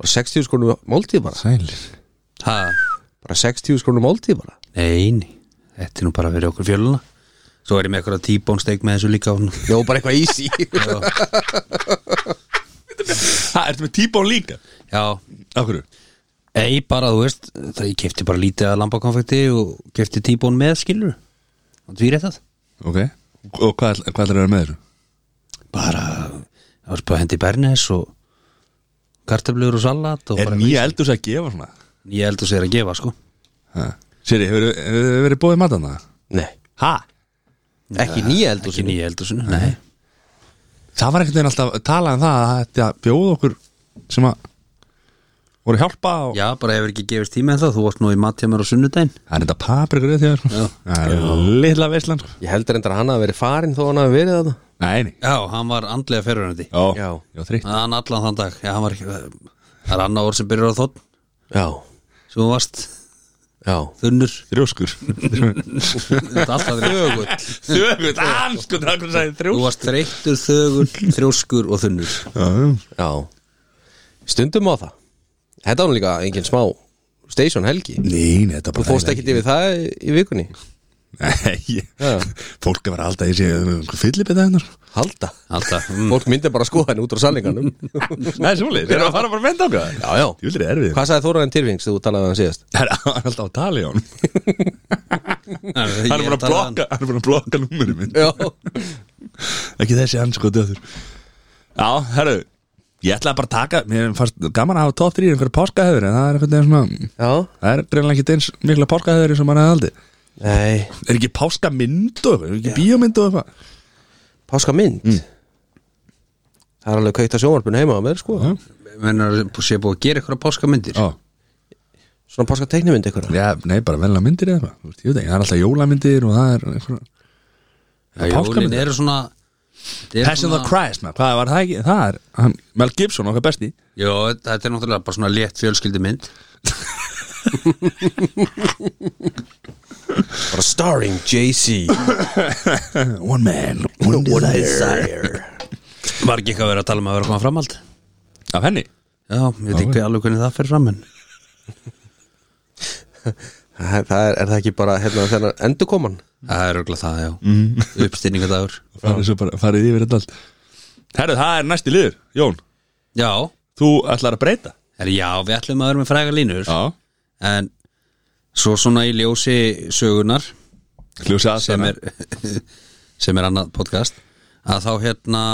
Bara 60 skonum máltíð bara Sælir Ha, bara 60 skrúnum máltíð bara nei, nei Þetta er nú bara fyrir okkur fjöluna Svo er ég með eitthvað tíbónsteik með þessu líka og- Jó, bara eitthvað easy Ha, ertu með tíbón líka? Já, Af hverju? Ei, bara, þú veist, það ég kefti bara lítið að lambakonfekti og kefti tíbón með skilur og því rétt að Ok Og hvað, ætl- hvað ætlar að vera með þessu? bara, það var bara hendi bernes og kartöflur og salat og Er bara nýja eldus að gefa svona? ég held að sér að gefa, sko Ha. Siri, hefur þið verið bóðið matan það? Nei, Ha? ekki nýja eldur ekki nýja eldusinu, nei Það var einhvern veginn alltaf að tala um það að það ætti að bjóða okkur sem að voru hjálpa og Já, bara hefur ekki gefist tíma en það, þú varst nú í matja mér á sunnudaginn það er þetta paprikur eða þér sko. Það er litla veislan sko. Ég heldur endur að hann hafi verið farinn þó hann hafi verið þetta Nei, nei Já, hann var andlega ferurandi Ó, Já. já þrýtt Hann allan þann dag, já, hann var ekki það er annað orð sem byrjar á þótt Já, sem þú varst já þunnur Þrjóskur Þetta er alltaf þrjóðgull Þrjóskur, ansku, það er hvernig sagði Þú varst þreyttur, þögull, þrjóskur og þunnur þrjóskur Já Stundum á það Þetta var nú líka engin smá station helgi Nei, nei, þetta er Þú bara fórst ekkit yfir það í- í vikunni Nei, Já. ég, um, fólk er bara alltaf í sig Fyllibita hennar Halda Alltaf, Mm. Fólk myndi bara að skoða henni út úr salinganum Nei, svoleiðis, þeir eru að fara bara að venda okkar Já, já Ég vil þetta erfið Hvað sagði Þóraðin Tyrfings þegar þú talaði um hann síðast? Það er alltaf á tali á hann Hann er búin að um- blokka, hann er búin að blokka númurinn minn Já Ekki þessi hann sko döður Já, herru Ég ætlaði bara að taka, mér fannst gaman að hafa top 3 einhverja páskahöður en það er einhvern veginn svona Já það er greinlega ekki eins mikla páskahöður sem maður hefði aldrei Nei Er ekki páskamind og eitthvað, er ekki bíómynd og eitthvað Páska mynd Það er alveg kveikt að sjónvarpinu heima á mér sko Já. Mennar sé búið að gera eitthvað páskamyndir Já, Svona páska teiknumynd eitthvað já, nei, bara velna myndir eða eitthvað Þú veist, ég veit ekki, það er alltaf jólamyndir og það er einhverja Já, Jólin eru svona þetta er Passion of svona- the Christ, maður, hvað var það ekki? Það er, hann, Mel Gibson okkar besti Jó, þetta er náttúrulega bara svona létt fjölskyldi mynd Bara starring Jay-Z One man, One Desire Var ekki eitthvað að vera að tala um að vera að koma framhald Af henni? Já, ég veit ekki alveg hvernig það fer fram en Það það er, er það ekki bara hérna þennan endurkoman? Mm. það er auðvitað það, já mm. Uppstýringadagur Farið, svo bara, farið yfir þetta allt Herru, það er næsti liður, Jón Já, Þú ætlar að breyta er, já, við ætlum að vera með fræga línur Já En svo svona í ljósi sögunar Hljósi að sem er, sem er annað podcast að þá hérna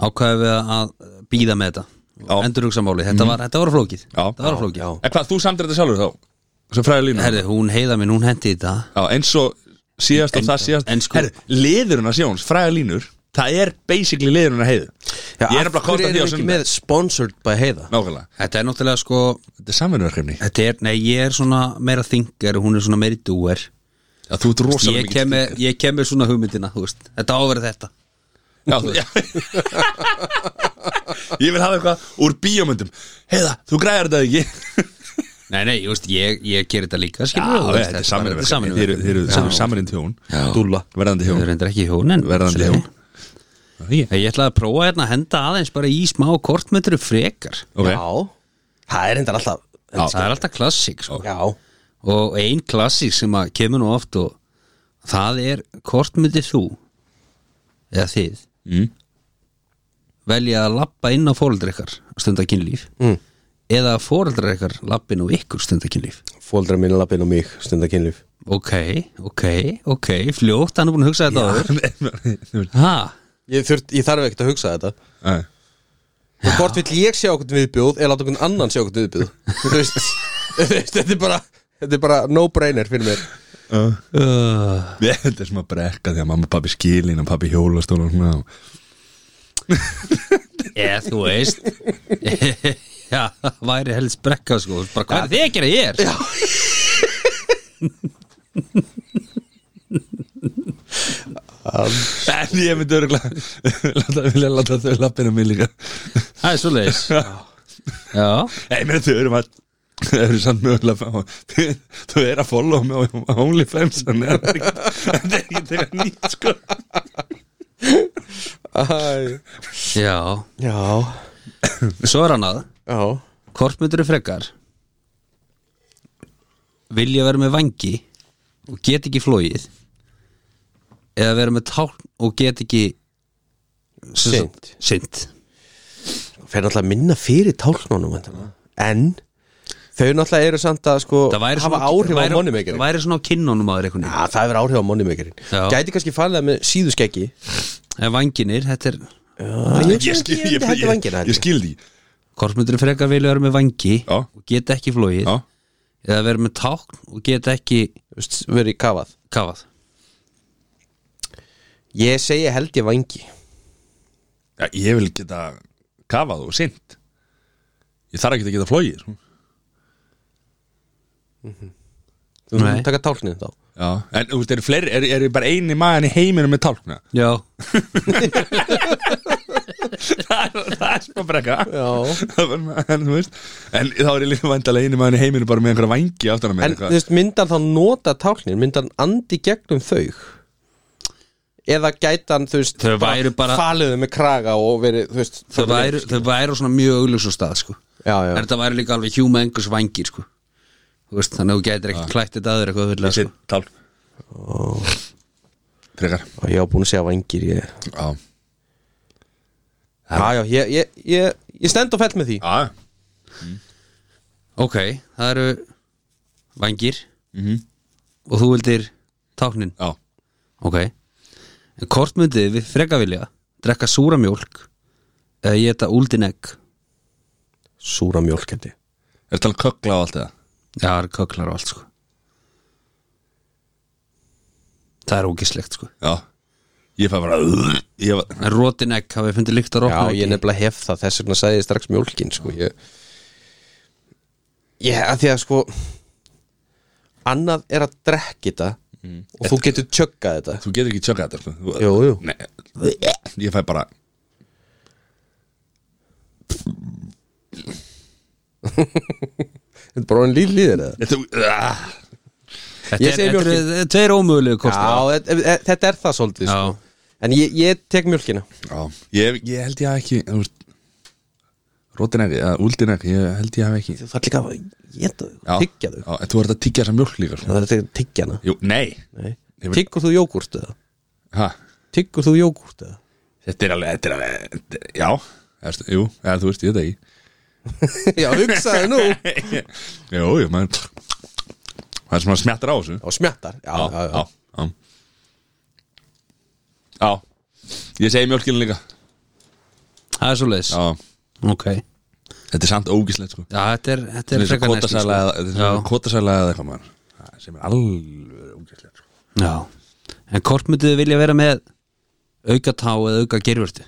ákvæðum við að býða með þetta Já. Mhm. endurugsamáli, þetta, var, þetta var flókið Já. þetta var flókið En hvað, þú samdir þetta sjálfur þá? Sem fræði línu Herði, hún heiða minn, hún hendi þetta Já, eins og síðast og það síðast en sko- Herru, liðurinn að Jóns, fræði línur Það er basically liðurinn að heiðu Ég er nefnilega að kosta því á ekki sunnum með sponsored by heiða? Nákvæmlega þetta er náttúrulega sko Þetta er samvinnverkefni þetta er, nei, ég er svona meira thinker og hún er svona meiri doer Já, þú ert rosalega ég kem, með, ég kem með svona hugmyndina, þú veist þetta áverð þetta Já, þú- já. Ég vil hafa eitthvað úr bíómyndum Heiða, þú græðar þetta ekki nei, nei, ég veist, ég, ég gerir þetta líka Já, skilur, þetta er samvinnverkefni Þeir eru- þeir þeir, eru samvinnin hjón Dúlla Verðandi þeir hjón reyndir ekki hjón en Verðandi hjón Ég, ég ætlaði að prófa hérna að henda aðeins bara í smá kortmetru frekar Ok. Já Það er endar alltaf Það er alltaf klassík sko. Já Og ein klassík sem að kemur nú oft og það er kortmyndi þú eða þið Mm. velja að lappa inn á fóreldra ykkar stundakinnlíf mm. eða að fóreldra ykkar lappa inn á ykkur stundakinnlíf Fóldra mín lappin og mig stundar kynlíf Ok, ok, ok fljótt, hann er búin að hugsa þetta áður Ha, Ég, þurft, ég þarf ekkert að hugsa þetta Nei. Og hvort vill ég sjá okkur viðbjóð eða láta okkur annan sjá okkur viðbjóð Þú veist, þú veist, þetta er bara Þetta er bara no-brainer fyrir mér Ég held þessum að brekka því að mamma og pappi skilin og pappi hjólastól og svona eða þú veist Já, það væri helst brekka sko bara hvað er þið að gera hér? En ég myndi örgulega láta, vilja láta þau lappina mig líka Það er svoleiðis Já, Nei, ég meina þau eru að þau eru samt mögulega að fá þau eru að follow mig á OnlyFans þannig að það er ekkert- þetta er ekki þegar nýtt sko Æ, já Já Svo er hann að, Já hvort myndur er frekar Vilja vera með vangi og get ekki flóið eða vera með táln og get ekki Seint. Sint Fer náttúrulega minna fyrir tálknunum væntanlega. En Þau náttúrulega eru samt að sko Það væri Hafa svona- áhrif á væri- moneymakerin væri svona á kinnunum aður einhvern Já, það hefur áhrif á moneymakerin Já. Gæti kannski farið það með síðuskeggi veginn En vanginir, þetta er Ég skil, ég, ég, hætti ég, vangina ég skil því hvort myndur er frekar vilja vera með vangi Já. og get ekki flóið Já, eða vera með táln og get ekki Verið kafað kafað Ég segi held ég vangi Já, ég vil geta kafað og sint Ég þarf ekki að geta flóið sko. Þú Nei. Nei. taka tálknið þá Já, en þú veist, eru fleiri, eru er bara eini maðan í heiminum með tálkna Já, Það er- það er smá brekka Já. Það var- en, þú veist, en þá er ég líka vandalega eini maðan í heiminum bara með einhverja vangi aftan að mér En þú eitthvað. veist, myndar þá nota tálknir Myndar hann andi gegnum þau Eða gæti hann, þú veist Þau væru bara- Faliðu með kraga og verið, þú veist þau væru, þau væru svona mjög augljósum stað sko. Já, já en þetta væri líka alveg hjúma engurs vangir sko. Þú veist, þannig að þú getur ekkert klætt þetta aður eitthvað vilja, Sitt sko. tálk Frekar Og ég á búin að segja vangir ég Já, Já, já, ég, ég, ég, ég stend og fell með því já ok, það eru vangir og þú vildir táknin Mhm. Já, ok, en hvort myndið við freka vilja drekka súra mjólk eða ég þetta úldin egg Súra mjólkendi er þetta alveg kökla á um allt eða? já, það eru köklar og allt sko. það er ógislegt sko. Já Ég fæ bara ég var, en rótin egg hafið fundið líkt að Já, rótna ég nefnilega hef það, þess vegna sagði ég strax mjólkin sko. Ég, ég að því að sko Annað er að drekki þetta Og þú getur tjöggað þetta Þú getur ekki tjöka þetta sko. Mm. Jú, jú. Nei, Ég fæ bara Þetta er bara orðin líð líðir eða? Þetta uh, Ég Þetta segi er, mjólkin. þetta er tveir ómögulegu Já, kostur þetta e- þetta er það svolítið sko. Já. En ég, ég tek mjölkina já, ég, ég held ég að ekki þú veist, Rótin ekki, eða úldin ekki Ég held ég að ekki Þú þarf líka að geta þau, Já. tyggja þau Já, en Þú verður að tyggja þessa mjólk líka sko. Það er að tyggja hana Jú, nei Ég vil- Tyggur þú jógurt eða? ha, Tyggur þú jógurt eða? Þetta er alveg, þetta er alveg þetta er- Já, eða, stu- jú, eða, þú veist, ég veit það Já, hugsaðu nú Já, ekki Jú, jú, maður Það er sem að smjattar á þessu smjattar Já, já, já, já. já. Ég segi mjólkinu líka Það er svo leis Já, Ok Já, þetta er samt ógislegt sko þetta er, þetta Þetta er er svo frekar neyslu, kvotasæla eða- þetta er Já. svo kvotasæla eða eitthvað maður Það sem er alveg ógislegt sko Já En hvort myndið þið vilja vera með auka tá eða auka gerfurti?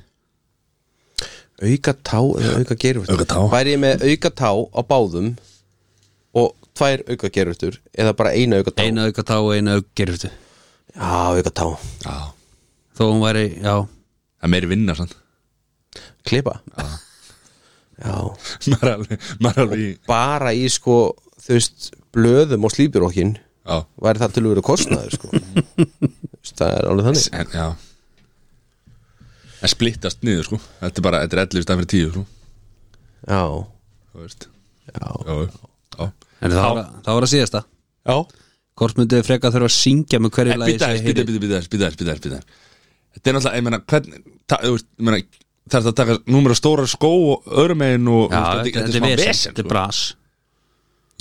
Auka tá eða auka gerurtur Auka tá. Væri ég með auka tá á báðum Og tvær auka gerurtur Eða bara eina auka tá Eina auka tá og eina auka gerfurti Já, auka tá Já, Þó hún væri, já það er meiri vinna sann Klippa Já Maður er alveg, maður er alveg í Bara í sko, þú veist, blöðum og slípjurokkin Já, Væri það til að vera kostnaður sko Þú veist, Það er alveg þannig en, já Það splittast niður sko Þetta er bara, þetta er 11 stað fyrir 10 sko Já, Þú veist já Já, já En það var, það var að síðasta Já Hvort myndið þið frekar þurfa að syngja með hverju lagi Býta þess, býta þess, býta þess, býta þess, býta þess, býta þess Þetta er náttúrulega, ég meina, hvernig ta- þú veist, ég meina, Það er að taka númur af stóra skó og öðrum megin og Já, þú veist, þetta þetta er smá vesen, vesen, þetta er sko. bras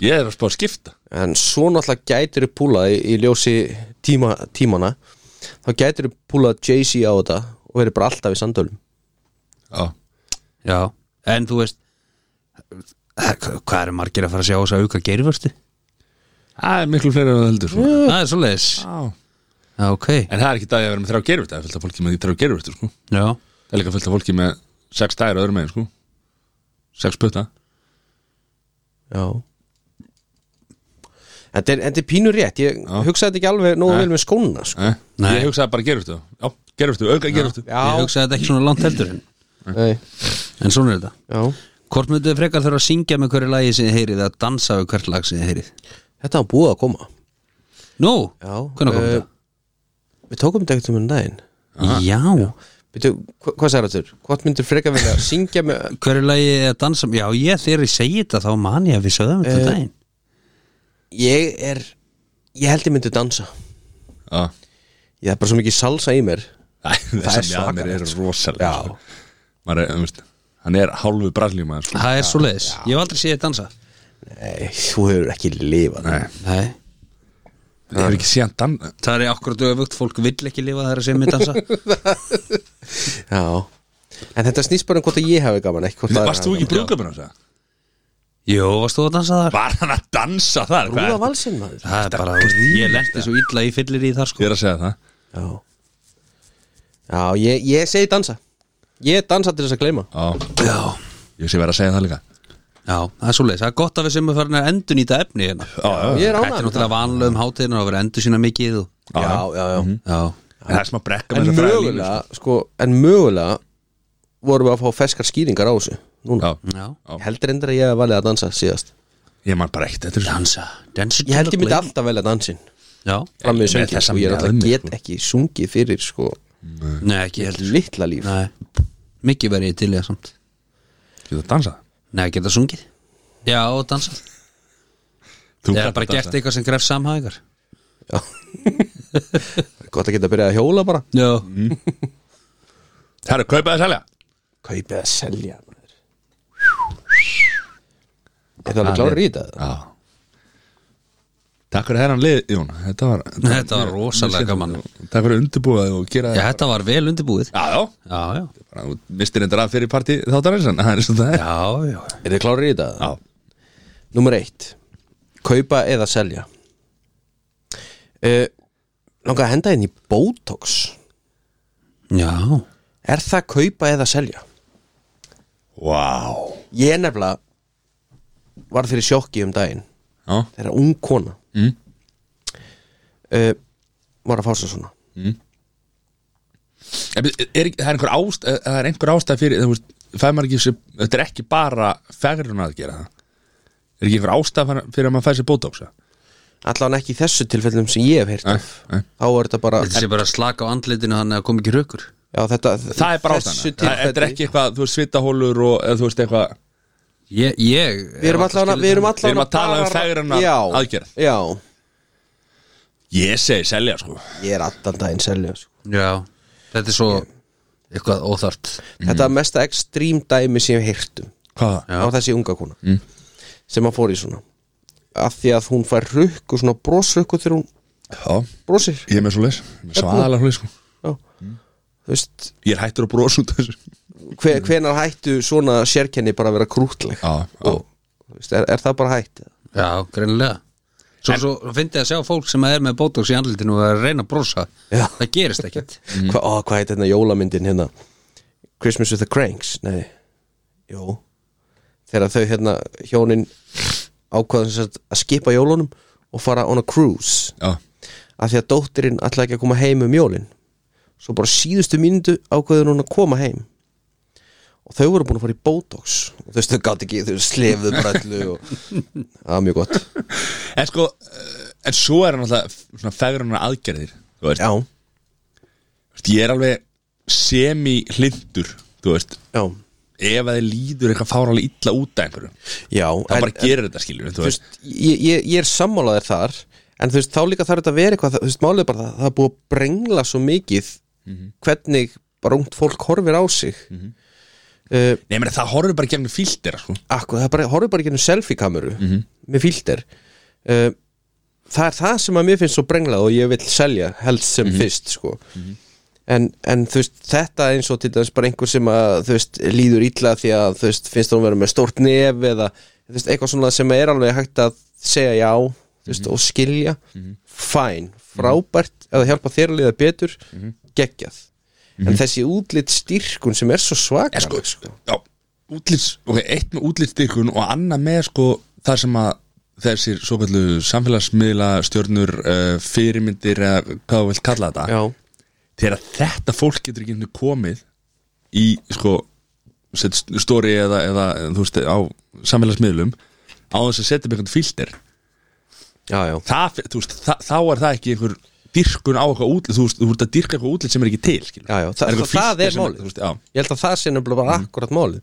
Ég er að spá að skipta En svo náttúrulega gætir þau púlað í, í ljósi tíma, tímana Þá gætir þau púlað Jay-Z á þetta Og verið bara alltaf í sandölum Já, Já, en þú veist eh, Hvað eru margir að fara að sjá þess að auka gerfurti? það er miklu fleiri að það heldur sko. Það er svo leis Já Já, ok En það er ekki dag að vera með þrjá gerfitt Það er fullt af fólki með þrjá gerfitt sko. Já Það er líka fullt af fólki með sex dæri öðrum megin sko. Sex putta Já Þetta er, þetta er pínur rétt Ég hugsaði þetta ekki alveg nógu Nei. vel með skóna sko. eh? Nei. Ég hugsaði bara gerfitt Já, gerfitt, auka gerfitt Ég hugsaði þetta ekki svona langt heldur en, Nei. en svona er þetta Já Hvort myndið þið frekar þurfa að syngja með hverju lagi sem þið heyrið eða dansa við hvert lag sem þið heyrið Þetta var búið að koma Nú, Já, hvernig kom eh, þetta? Við tókum þetta ekkert um enn daginn Já, Býtu, hva, Hvað sagði þetta? Hvort myndir frekar vilja syngja með hverju lagi eða dansa Já, ég þegar ég segi þetta þá man ég að við sögðum þetta um Eh, daginn Ég er Ég held ég myndi dansa Já Ég er bara svo mikið salsa í mér Það er er svakalegt svakalegt, er sko. rosalega Já. sko. Maður er, um, veist, Hann er hálfu brasilíum sko. Það er svo leiðis, ég hef aldrei séð þið dansa Nei, eh, þú hefur ekki lifað Nei, Nei, ég hef ekki séð hann dan það er akkurat öfugt Fólk vill ekki lifa það er að segja mig dansa Já En þetta snýst bara um hvort að ég hafi gaman ekki hvort aðrir Varst þú hafi ekki gaman. brúðgöfun á þess að? Jú, varst þú að dansa þar? Var hann að dansa þar? Hvað Brúða er- valsinn maður Það er bara, þú veist, ég lendi svo illa í fyllir í þar Ég sko er að segja það Já Já, ég, ég segi dansa Ég dansa til þess að gleyma Já, Já, ég sé verið að segja það líka já, það er svo leiðis Það er gott að við sem er farin að endur nýta efni hérna Já, já, já. Ég er Þetta er ánægður með náttúrulega vanlega um hátíðinu að vera endur sína mikið og... það. Já, já, já Já, En það er smá brekka með En þessa fræga línu, mögulega, sko, en mögulega vorum við að fá ferskar skýringar á þessu Núna, sko. Já. já ég heldur endur að ég hef valið að dansa síðast Ég man bara ekkert eftir þessu. Dansa, dansa Ég held ég myndi alltaf velja dansin Já, fram með Ég- með söngin þessa og ég er alltaf mjöðmi, get ekki sungið fyrir sko nei ekki heldur litla líf Nei, mikið verið ég til ég samt Getur að dansa? Nei, geta sungið Já, og dansa Þú Ég kannt hef bara að dansa. gert eitthvað sem gref samhæðingar Já. Gott að geta að byrja að hjóla bara Já, Herru, kaupa þið selja Kaupið að selja maður. Er það alveg klára í þetta? Já Takk fyrir herran lið, Jón Þetta var, Þetta var rosalega gaman. Takk fyrir undirbúið og gera já þetta var vel undirbúið Já, já Já, já, Bara, Þú mistir endur að fyrir partí þáttarins en Það er eins og það er já, já Er það klára í þetta? Númer eitt Kaupa eða selja uh, Langa að henda inn í Botox Já, Er það kaupa eða selja? Vá Ég er nefnilega Var fyrir sjokki um daginn Já, Þegar ung kona Mm. Eh, Var að fá sér svona En byrju, er, ekki- það er einhver ást eh, það er einhver ástæð fyrir þú veist, fær maður ekki sér- þetta er ekki bara fegrun að gera það Er ekki einhver ástæð fyrir að maður fær sér bótóksa? Allan ekki í þessu tilfellum sem ég hef heyrt af nei. Þá er þetta bara Þetta sé bara að slaka á andlitinu þannig að kom ekki rökkur já, þetta, Það er bara þessu ástæðan Það þetta er tilfelli- ekki eitthvað, þú veist, svitahólur og eða, þú veist eitthvað Ég, ég Við erum allan að Við erum Við erum allan að tala um bara- fegrana Já, aðgerð. Já, Ég segi selja, sko ég er allan daginn selja sko. Já, þetta er svo eitthvað óþart Þetta er mesta ekstrím dæmi sem ég heyrtum Hvaða? á þessi unga kona sem að fór í svona af því að hún fær rukk og svona brosrukku þegar hún Já, brosir ég er með svo leis Svala svo leis, sko Já. Þú veist, Ég er hættur að brosa út af þessu hve, hvenar hættu svona sérkenni bara að vera krútleg Já, já. og, þú veist, er, er það bara hætt eða? Já, greinilega Svo, svo fyndi að sjá fólk sem er með botox í andlitinu og er að reyna að brosa Já. Það gerist ekkert Hva, ó, hvað heit þetta jólamyndin hérna Christmas with the Cranks nei, jú þegar þau hérna hjónin ákvaðan sem sagt að skipa jólunum og fara on a cruise Já, af því að dóttirinn ætla ekki að koma heim um jólin svo bara síðustu mínútu ákveður hún að koma heim og þau voru búin að fara í Botox og þú veist þau gátt ekki, þau slefðu bara öllu og það var mjög gott En sko, eh, en svo er hann alltaf svona fegrana aðgerðir Þú veist, já, Veist, ég er alveg semi-hlindur þú veist, já, ef að þið líður eitthvað fáralega illa út af einhverju þá já en- bara gerir þetta skilur þú veist, ég, ég, ég er sammálaðir þar en þú veist, þá líka þarf þetta að vera eitthvað þú veist, málið er bara það, það er búið að brengla svo mikið hvernig bara ungt fólk horfir á sig mm Nei, meni, það horfir bara gegnum filter sko. akkur, það bara, horfir bara gennum selfie-kameru með filter uh, það er það sem að mér finnst svo brenglað og ég vil selja helst sem fyrst sko. en, en þú veist þetta eins og til dæmis bara einhver sem að þú veist líður illa því að þú veist finnst hún vera með stórt nef eða þú veist, eitthvað svona sem er alveg hægt að segja já þú veist, og skilja fæn, frábært eða hjálpa þér að liða betur geggjað en þessi útlitt styrkun sem er svo svakar sko, sko. Já, útlits, ok, eitt með útlitsstyrkun og annað með sko, það sem að þessir svo kallu samfélagsmiðla stjörnur, uh, fyrirmyndir eða hvað þú vilt kalla þetta já, þegar þetta fólk getur ekki einu sinni komið í sko set- story eða, eða þú veist á samfélagsmiðlum á þess að setja með einhvern filter já, já það, þú veist, það, þá er það ekki einhver dyrkun á eitthvað útlið, þú veist, þú ert að dyrka eitthvað útlið sem er ekki til, skilur já, já, það, það, einhver það filter er sem málið þú veist, já, ég held að það sé nefnilega bara akkurat málið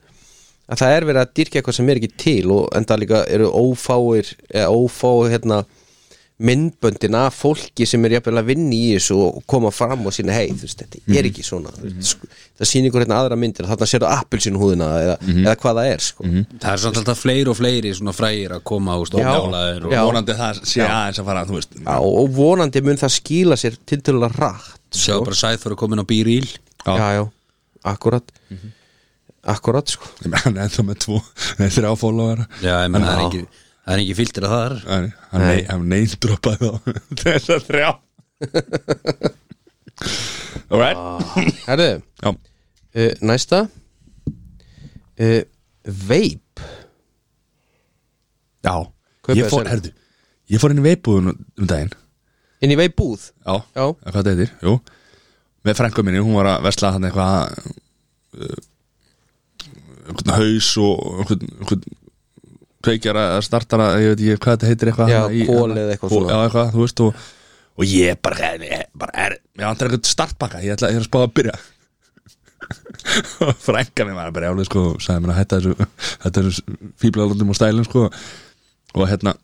að það er verið að dyrka eitthvað sem er ekki til og enda líka eru ófáir eða ófáir hérna myndböndin af fólki sem er jafnvel að vinna í þessu og koma fram og sína hei, þú veist, þetta er ekki svona mm -hmm. það sýnir ykkur hérna aðra myndir þarna sérðu appelsinu húðina eða, eða hvað það er sko. Það er samt alltaf fleiri og fleiri svona frægir að koma úst, Já. ónálaðir og Já. vonandi það sé aðeins að fara, þú veist Já, og vonandi mun það skýla sér tiltölulega rætt sjá bara sæðfóru komin á býríl Já. já, já, akkurat akkurat sko ég meina, hann er ennþá með tvo, með þrjá followera Já, ég menn það er Já. ekki Það er ekki filter að það er hann, hann, nei, hann neindropaði þá þess að þrjá Ah. alright, Herðu, já, Uh, næsta uh, Veip já. Kaupa ég fór, þér. herðu ég fór inn í veipbúðun um daginn Inn í veipbúð Já, Já. eða hvað þetta heitir, jú Með frænku minni, hún var að versla hann eitthvað uh, einhvern haus og einhvern, einhvern kveikjara eða startara, ég veit ekki hvað þetta heitir eitthvað Já, hann í- kol eða eitthvað Kol- svona. Já, eitthvað, þú veist og, og ég bara, ég, bara er, ég vantar eitthvað startbakka, ég ætla ég er að spá að byrja og frænka mér var bara jálega sko og sagði mér að hætta þessu, hætta þessu fíblalundum og stælum sko og hérna,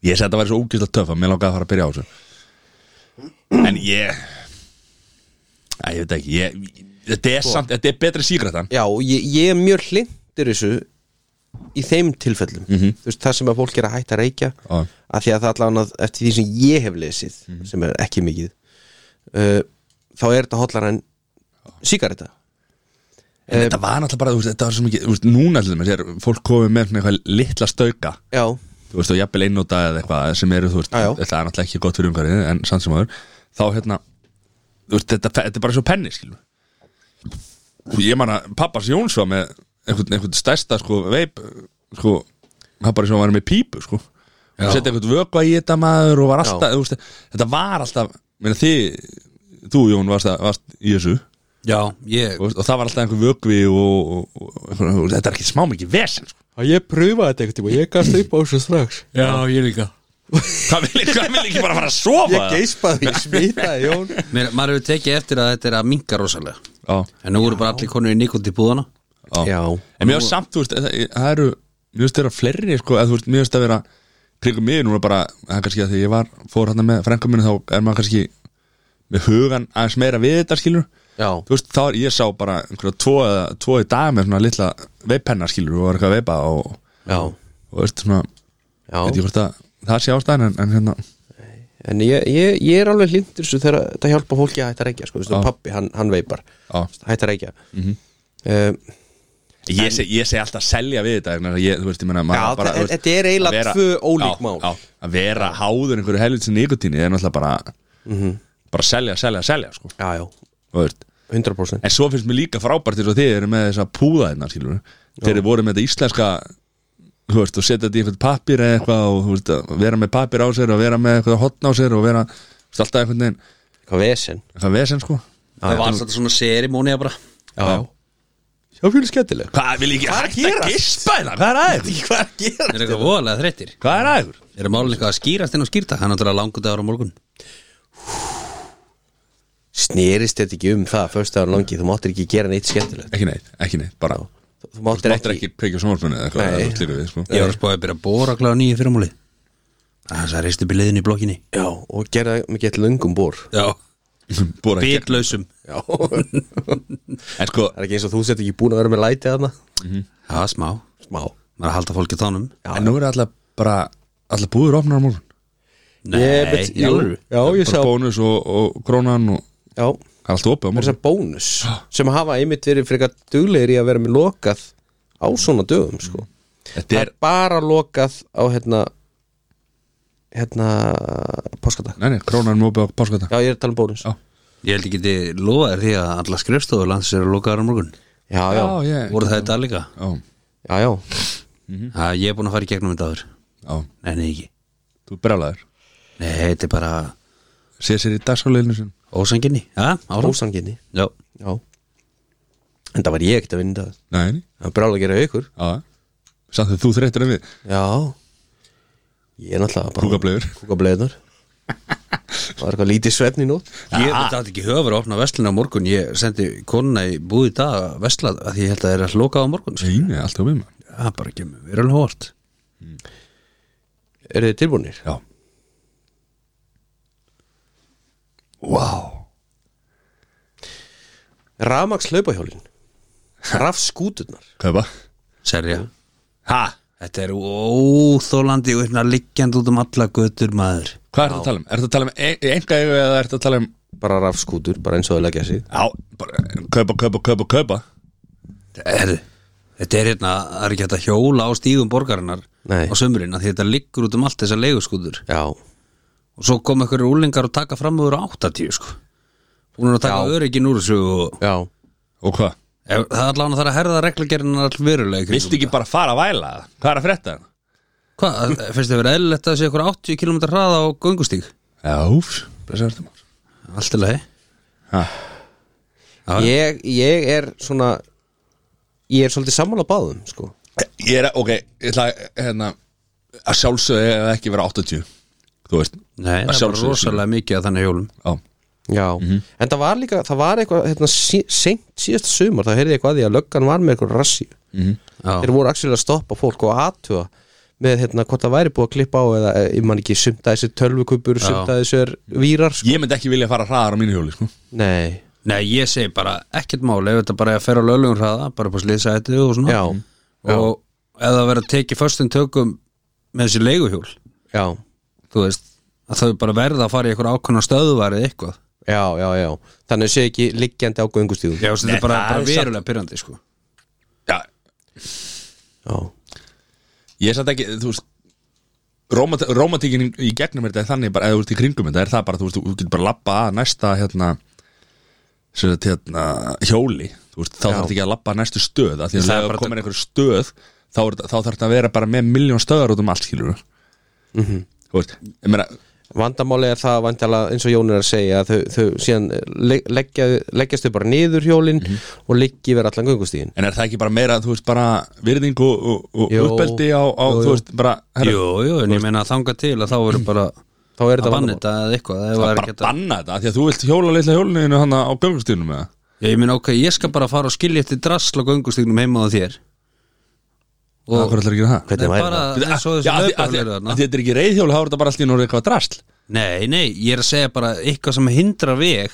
ég segi að þetta væri svo ógislega töff að mér langaði að fara að byrja á þessu en ég að ég veit ekki ég, þetta, er samt, þetta er betri sígrættan Já, ég, ég er mjög hlindur þessu Í þeim tilfellum Mhm. -hmm. Þú veist, Það sem að fólk er að hætta að reykja Já. Af því að það allan að eftir því sem ég hef lesið Mhm. Sem er ekki mikið uh, Þá er þetta hóllar en Sígarita en þetta var náttúrulega bara, þú veist, þetta var svo mikið þú veist, núna til þess að fólk komið með svona eitthvað litla stauka Já, þú veist, og jafnvel einnóta eða eitthvað sem eru, þú veist, Já, já. þetta er náttúrulega ekki gott fyrir umhverfið en samt sem aður, þá hérna þú veist, þetta, þetta er bara svo penni, skilur og ég man að pappas Jóns var með einhvern, einhvern stærsta, sko, veip sko, hann bara svo var með pípu, sko Já. og setja einhvern vökva í þetta maður og var alltaf, þú veist, þetta var alltaf meina þið, þú Jón varst, að- varst í þessu Já, ég og, og það var alltaf einhver vökvi og, og, og, og þetta er ekki smá mikið vesen, sko að ég pröfa þetta eitthvað tíma, ég gafst upp á þessu strax Já, ég líka Hvað vil, hvað vil ekki bara fara að sofa? Ég geispaði, ég smitaði Jón Mér, maður hefur tekið eftir að þetta er að minka rosalega Já, En nú eru bara allir konur í nikotin búðana já Já, En mér finnst samt, þú veist, það, það eru Mér finnst þeirra fleiri, sko, að þú veist, mér finnst að vera Kringum mig núna bara, það er kannski að því ég var Fór hann með frænkum minni, þá er maður kannski Með hugan aðeins meira við þetta skilur já, Þú veist, þá er ég sá bara einhverja tvo, eða, tvo í dag með svona litla veipenna skilur og var eitthvað að veipa og, já, og veist, svona, veit já. ég hvort að það sé ástæðan en, en hérna, En ég, ég, ég er alveg hlindur þessu þegar þetta hjálpa fólki að hætta að reykja sko. Vistu, Pappi, hann, hann veipar á Hætta að reykja Mhm. um, Ég seg, ég seg alltaf selja við þetta vegna þess að ég, þú veist, ég menna Já, þe- þetta er eiginlega tvö ólík mál. Að vera háður einhverju helvitsin nikotíni er náttúrulega bara bara selja, selja, selja sko, Já, já, þú veist. 100% En svo finnst mér líka frábært eins og þið eru með þessa púða hérna, skilur þeir eru voru með þetta íslenska þú veist, og setja þetta í einhvern pappir eða eitthvað og þú veist, að vera með pappir á sér og vera með eitthvað hotn á sér og vera þú veist, alltaf einhvern veginn, Hvað vesen eitthvað vesen sko Það var alltaf svona serimónia bara Já, já Sjá fjölu skemmtileg Hvað vil ég ekki hægt að gispa hérna? Hvað er aðeins? Hvað er að gera? Er eitthvað voðalega þreyttir Hvað er aðeins? Er málin eitthvað að skýrast inn á skýrta Hann er náttúrulega langur dagur á morgun Snerist þetta ekki um það, fyrst dagar langi Þú máttir ekki gera neitt skemmtilegt Ekki neitt, ekki neitt, bara Þú- Þú máttir Máttir ekki ekki kveikja sjónvarpunni eða eitthvað Nei. eða þú slíkur við, sko. Ég var að spáði að byrja að bóra kláða nýju fyrramáli Það er reist upp í liðinu í blokkinni Já, og gera það mikið lungum bor Já, Búið að gera. bitlausum Já Það En sko, er ekki eins og þú sett ekki búin að vera með læti aðna Já, smá Maður Smá er að halda fólki tánum en nú er alltaf bara allar búður opnar á morgun Nei, bet- jú, alvöru. Já, ég sá Bara bónus og, og krónan og Já, það er allt opið á þessar morgun bónus sem hafa einmitt verið frekar duglegir í að vera með lokað á svona dögum sko. Mm. Þetta það er, er bara lokað á hérna hérna páskadag nei, nei, krónan er opið á páskata já ég er að tala um bónus Já. Ég held ekki þið lofa þér því að alla skrifstofur landsins eru lokaðar á morgun já já, Já, ég Voru það þetta líka? Já, já, já. Það ég er búin að fara í gegnum þetta áður já, Nei, nei, ekki þú er brjálæður Nei, þetta er bara Sér sér í dagskáleginu sin ósanginni Já, áfram ósanginni Já, já en það var ég ekkert að vinna það Nei, nei, það var brála að gera ykkur já Samt þegar þú þreyttur en við já ég er náttúrulega bara Kúkablegur kúkableðunar það var eitthvað lítið svefn í nótt ég þetta átti ekki höfur að opna vestlina á morgun Ég sendi konuna í búið í dag að vestla að því ég held að það er að loka á morgun sko. Nei, nei, allt opið maður Það er bara ekki verið alveg hórt eru þið tilbúinir? Já Vá Ramax hlaupahjólin rafskúturnar Kaupa Serja Ha? Þetta er óþólandi og hérna liggjandi út um alla götur maður Hvað ertu að tala um? Ertu að tala um ein- enga yfir eða ertu að tala um bara rafskútur, bara eins og þau leggja sig Já, bara kaupa, kaupa, kaupa, kaupa Herðu, þetta er hérna, það er ekki hægt að hjóla á stígum borgarinnar Nei. á sömurinn af því þetta liggur út um allt þessar leiguskútur já, og svo kom einhverju úlingar og taka fram úr á 80 sko Hún er að taka Já. örygin úr þessu og já Og hvað? ef, það er allan að það er að herða reglagerinn allverulega í kringum Viltu ekki bara fara að væla það? Hvað er að frétta það? Hvað, finnst þið verið eðlilegt að sé ykkur 80 km hraða á göngustíg? Já, úf, blessaður þetta maður Allt í lagi Ha. Já. ég, ég er svona ég er svolítið sammála báðum sko. Ég er, ok, ég ætla að, hérna Að sjálfsögðu eiga það ekki vera 80 Þú veist Nei, Að það er bara sjálfsögðu, rosalega mikið að þannig hjólum Já, já, Mhm. en það var líka það var eitthvað, hérna, sí, seint síðasta sumar þá heyrði ég eitthvað að því að löggan var með eitthvað rassi Mhm. Já, þeir voru axil að stoppa fólk og aðtuga með hérna hvort það væri búið að klippa á eða eh, ég man ekki sumta þessi tölvukubur sumta þessi er vírar sko. Ég myndi ekki vilja fara hraðar á mínu hjóli sko. nei, Nei, ég segi bara ekkert máli ef þetta bara er að ferra á löglegum hraða bara upp á slýðsæti og svona Já. og ef það verður að tekið föstum tökum með þessi leiguhjól já, þú veist, að þau bara verða að fara í eitthvað ákveðna stöðuvar eða eitthvað já, já, já þannig sé ekki liggjandi á göngustíðum Já, þetta Nei, er bara, það bara er samt- verulega pyrrandi sko. Já, já, ég er satt ekki, þú veist rómat- Rómatíkin í- í gegnum þetta er þannig bara, eða þú veist í kringum þetta er það bara, þú veist, þú getur bara lappa að næsta hérna, sem þetta hérna hjóli, þú veist, þá Já. þarf þetta ekki að lappa að næstu stöð, af því að Það er það bara- komin einhver stöð, þá, er þetta- þá þarf þetta að vera bara með miljón stöðar út um allt, skilur mm -hmm. þú veist, ég meina vandamáli er það vandala eins og Jón er að segja að þau, þau síðan le- leggja, leggjast þau bara niður hjólin Mhm. og liggi verið allan göngustíðin En er það ekki bara meira, þú veist, bara virðing og, og, og Jú. uppeldi á, á Jú, jú. þú veist, bara herra, Jú, jú, en ég meina að þanga til að þá verður bara þá er að þetta banna vandamál þetta eða eitthvað ef það er bara ekki hægt að- banna þetta af Því að þú vilt hjóla leitla hjólinu hann á göngustíðunum eða Ég meina ok, ég skal bara fara og skilja eftir drasl og göngustignum heima á þér Það og er allir að gera það Hvernig Nei, væri bara það? eins Já, og af þessu því- af því- löpar af því þetta er ekki reiðhjól, þá er þetta bara allt í núr eitthvað drasl Nei, nei, ég er að segja bara eitthvað sem hindra veg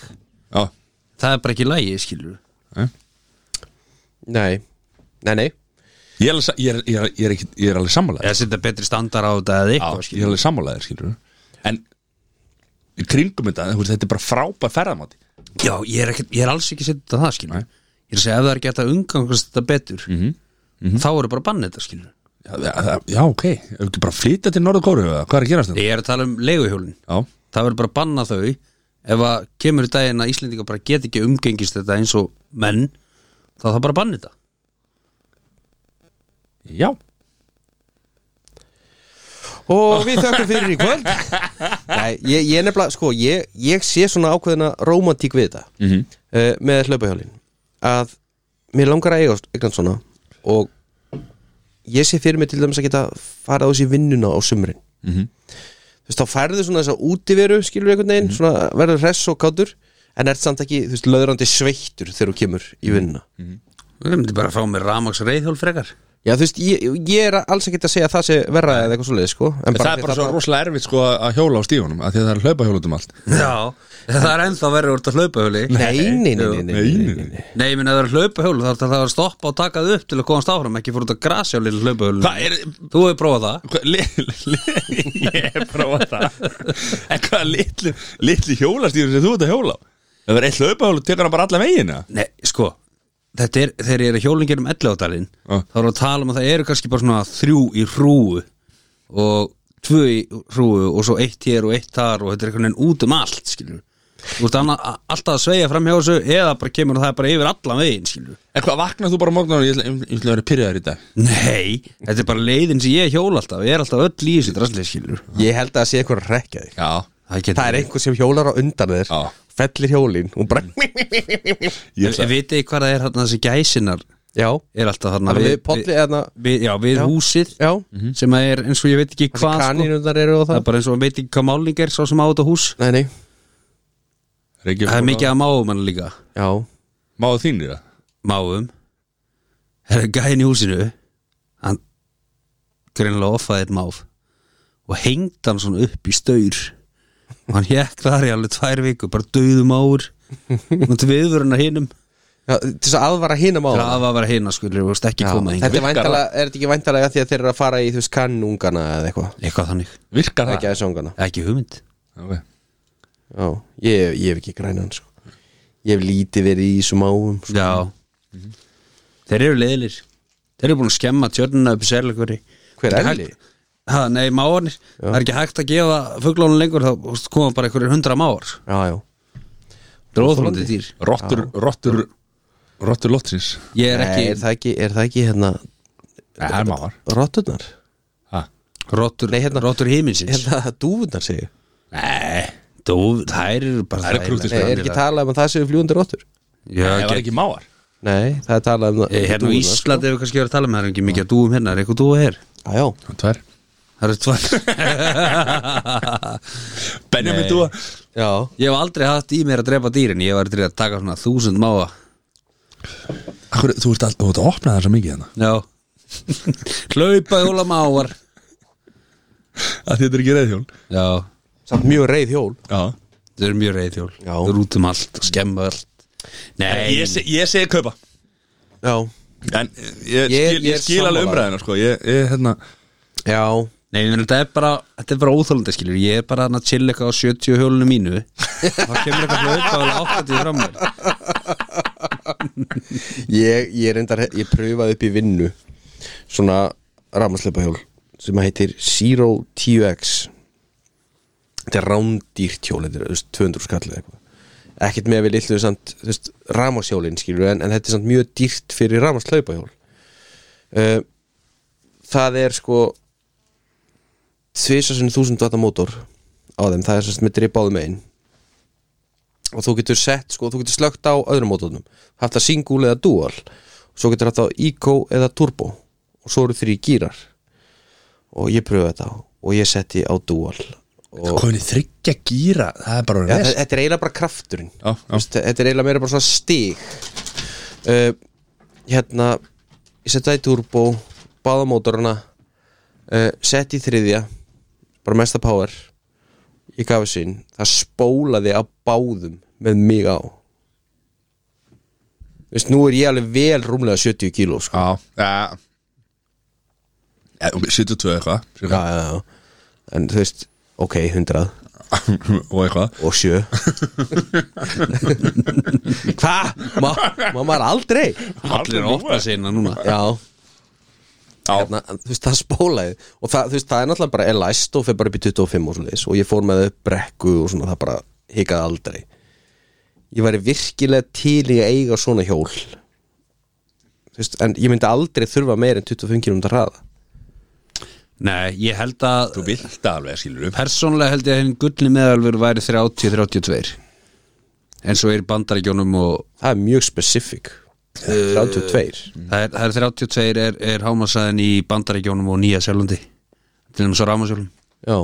Já, það er bara ekki lægi, skilur eh. nei, nei, nei ég er alveg sa- ég er- ég er- ég er ekki- ég er alveg sammálaðir eða setja betri standar á þetta eða Já, ég eitthvað, er skilur alveg sammálaðir, skilur En í kringum þetta, þú veist, þetta er bara frábær ferðamáti Já, ég er, ekki, ég er alls ekki að setja það, skilur Ég er að segja ef það er ekki hægt að umgangast þetta betur þá eru bara að banna þetta, skilur Já, það- já, ok, ef ekki bara flytja til Norðkóru Hvað er að gerast þetta? Ég er að tala um leiguhjólin Já, það verður bara að banna þau ef að kemur í daginn að Íslendinga bara get ekki umgengist þetta eins og menn þá það bara að banna þetta já og við þökkum fyrir í kvöld nei, ég, ég nefnilega, sko ég, ég sé svona ákveðina romantík við þetta mm -hmm. með hlaupahjólin að mér langar að eiga eitthvað svona og ég sé fyrir mig til dæmis að geta farið á þessi vinnuna á sumrin þú veist, þá færðu svona þess að útiveru skilur einhvern veginn, svona verður hress og kátur en ert samt ekki, þú veist, löðrandi sveittur þegar þú kemur í vinnuna Við myndum bara að fá mér ramaks reyðhjól frekar Já, þú veist, ég, ég er alls ekki að segja að það sé verra eða eitthvað svoleiðis, sko En En það er því bara þarna- svo rosalega erfitt sko að hjóla á stífunum að því að það er hlaupa hjólutum allt Já, það er ennþá verið úr þetta hlaupahjóli Nei, nei, nei, nei, nei, nei, nei, nei. Nei, ég minna það er hlaupahjóli þá er það að stoppa og taka það upp til að komast áfram ekki fór út að grasja á lilla hlaupahjóli Hvað er, Þú hefur prófað það hvað, li, li, ég er prófað það En hvað litlu, litlu hjólastífun sem þú ert að hjóla á? Ef Það er eitt hlaupa hjólu, tekur hann bara alla megina Nei, sko, þetta er, þegar ég er að hjólinn gerum 11 dalinn, Ah. þá erum við að tala um að það eru kannski bara svona þrjú í hrúu og tvö í hrúu og svo eitt hér og eitt þar og þetta er einhvern veginn út um allt, skilur Þú veist, annað, a- alltaf að sveigja fram hjá þessu eða bara kemur það bara yfir allan veginn, skilur En hvað vaknar þú bara mógnar og ég ætla ég ætla að vera pyrraður í dag Nei, þetta er bara leiðin sem ég hjóla alltaf ég er alltaf öll í þessu drastlið, skilur Ég held að það sé eitthvað að rekja þig Já, Það, Það er einhver sem hjólar á undan þér Já. Fellir hjólin og bara Mm. ég ætla Vitið hvað það er þarna þessi gæsinar Já, er alltaf þarna það er við polli eðna við, Já, við Já. húsið Já, sem að er eins og ég veit ekki hvað hvað sko. kanínundar eru og það er það bara eins og hann veit ekki hvað máling er sá sem á þetta hús Nei, nei, Reykjavík- það er mikið að máum hann líka já Máðu þín í það máum það er gæðin í húsinu hann greinlega offaði eitt máf og hengd hann svona upp í staur og hann hekk þar í alveg tvær viku bara döðum áur og viður hann að hinum Já, Til þess að aðvara hinum á það var að vera hina skulur og ekki Já, koma Þetta er hingað væntalega, er þetta ekki væntalega því að þeir eru að fara í þú veist kannungana eða eitthvað eitthvað þannig, Virkar það? Ekki aðeins ungana ekki hugmynd Okay. Já, ég, ég hef ekki grænan sko Ég hef lítið verið í þessum áum sko. já Mhm. þeir eru leiðilir þeir eru búin að skemma tjörnina upp í sérleikveri Hver Það er er elli? Ha, nei, máarnir, það er ekki hægt að gefa fugglónu lengur, þá þú veist, koma bara einhverjir hundra máar Já, já Það er óþólandi dýr Rottur, rottur, rottur lottsins Ég er Nei, er ekki það ekki, er það ekki hérna Það er mávar Rotturnar? Ha. rottur, Nei, hérna- rottur heiminsins Hérna dúfurnar segir Nei, dóf, þær eru bara Það eru Nei, er ekki talað um að það séu fljúandi rottur? Það Já, var ekki ekki mávar Nei, það er talað um það Eh, Hérna á dúfurnar, sko. Íslandi hefur kannski verið að tala um það, það er ekki mikið að dúum hérna, er eitthvað dúa hér Ah, Já, já Tvær Það eru tvær Benjamin Dúa Já, Ég hef aldrei haft í mér að drepa dýrin, ég var til að taka svona þúsund máa Akkur, Þú ert alltaf, þú ert að opna það svo mikið hérna. þannig Já Hlaupa hjóla máar að þetta er ekki reyðhjól Já, samt mjög reið hjól Já þau eru mjög reyðhjól Já. Þau eru út um allt og skemma allt Nei, Ég, seg, ég segi kaupa Já En eh, ég, Ég- skil, ég ég er skil alveg sammála. umræðina sko. ég, ég, hérna, Já Nei, ég meina, þetta er bara, þetta er bara óþólandi skilur Ég er bara þarna að chilla eitthvað á 70 hjólinu mínu Þá kemur eitthvað hlaupa á 80 fram mér Ég, ég reyndar, ég pröfaði upp í vinnu Svona rafmasleipa hjól Sem heitir Zero 10X Þetta er rándýrt hjól Þetta er þú veist, 200 skall eða eitthvað Ekkert með við lillu samt þú veist, Ramashjólin skilur en, en þetta er samt mjög dýrt fyrir ramasleipa hjól uh, Það er sko Tvisar sinni þúsund vata mótor á þeim það er sérst með drip á þeim einn og þú getur sett sko, þú getur slögt á öðrum mótornum haft það single eða dual svo getur haft það á eco eða turbo og svo eru þrý gírar og ég pröfði þetta og ég setti á dual og Sko, Komin í þryggja gíra, það er bara ja, orðið þe- ves. þetta er eiginlega bara krafturinn Já, já. Þú veist, þetta er eiginlega meira bara svona stig uh, hérna ég setti það í turbo báða mótorana uh, setti í þriðja bara mesta power ég gaf þessu inn, það spólaði á báðum með mig á Þú veist, nú er ég alveg vel rúmlega 70 kíló sko. Já, já Eh, ok, 72 eitthvað já, cirka. já, já. en þú veist ok, 100 og eitthvað og sjö hva? Ma, mamma er aldrei Allir er ofta sinna núna já, Já, hérna, þú veist, það spólaði og það, þú veist, það er náttúrulega bara er læst og fer bara upp í 25 og svoleiðis og ég fór með þau upp brekku og svona, það bara hikaði aldrei ég væri virkilega til í að eiga svona hjól þú veist, en ég myndi aldrei þurfa meir en 25 km hraða Nei, ég held að þú vilt alveg skilur upp Persónlega held ég að hinn gullni meðalvör væri 30-32 En svo er í bandaríkjónum og það er mjög specifík Eh, 32 það er, það er 32 er, er hámasæðin í bandaríkjónum og nýja sjálfandi Til þeim svo rámasjálfum já,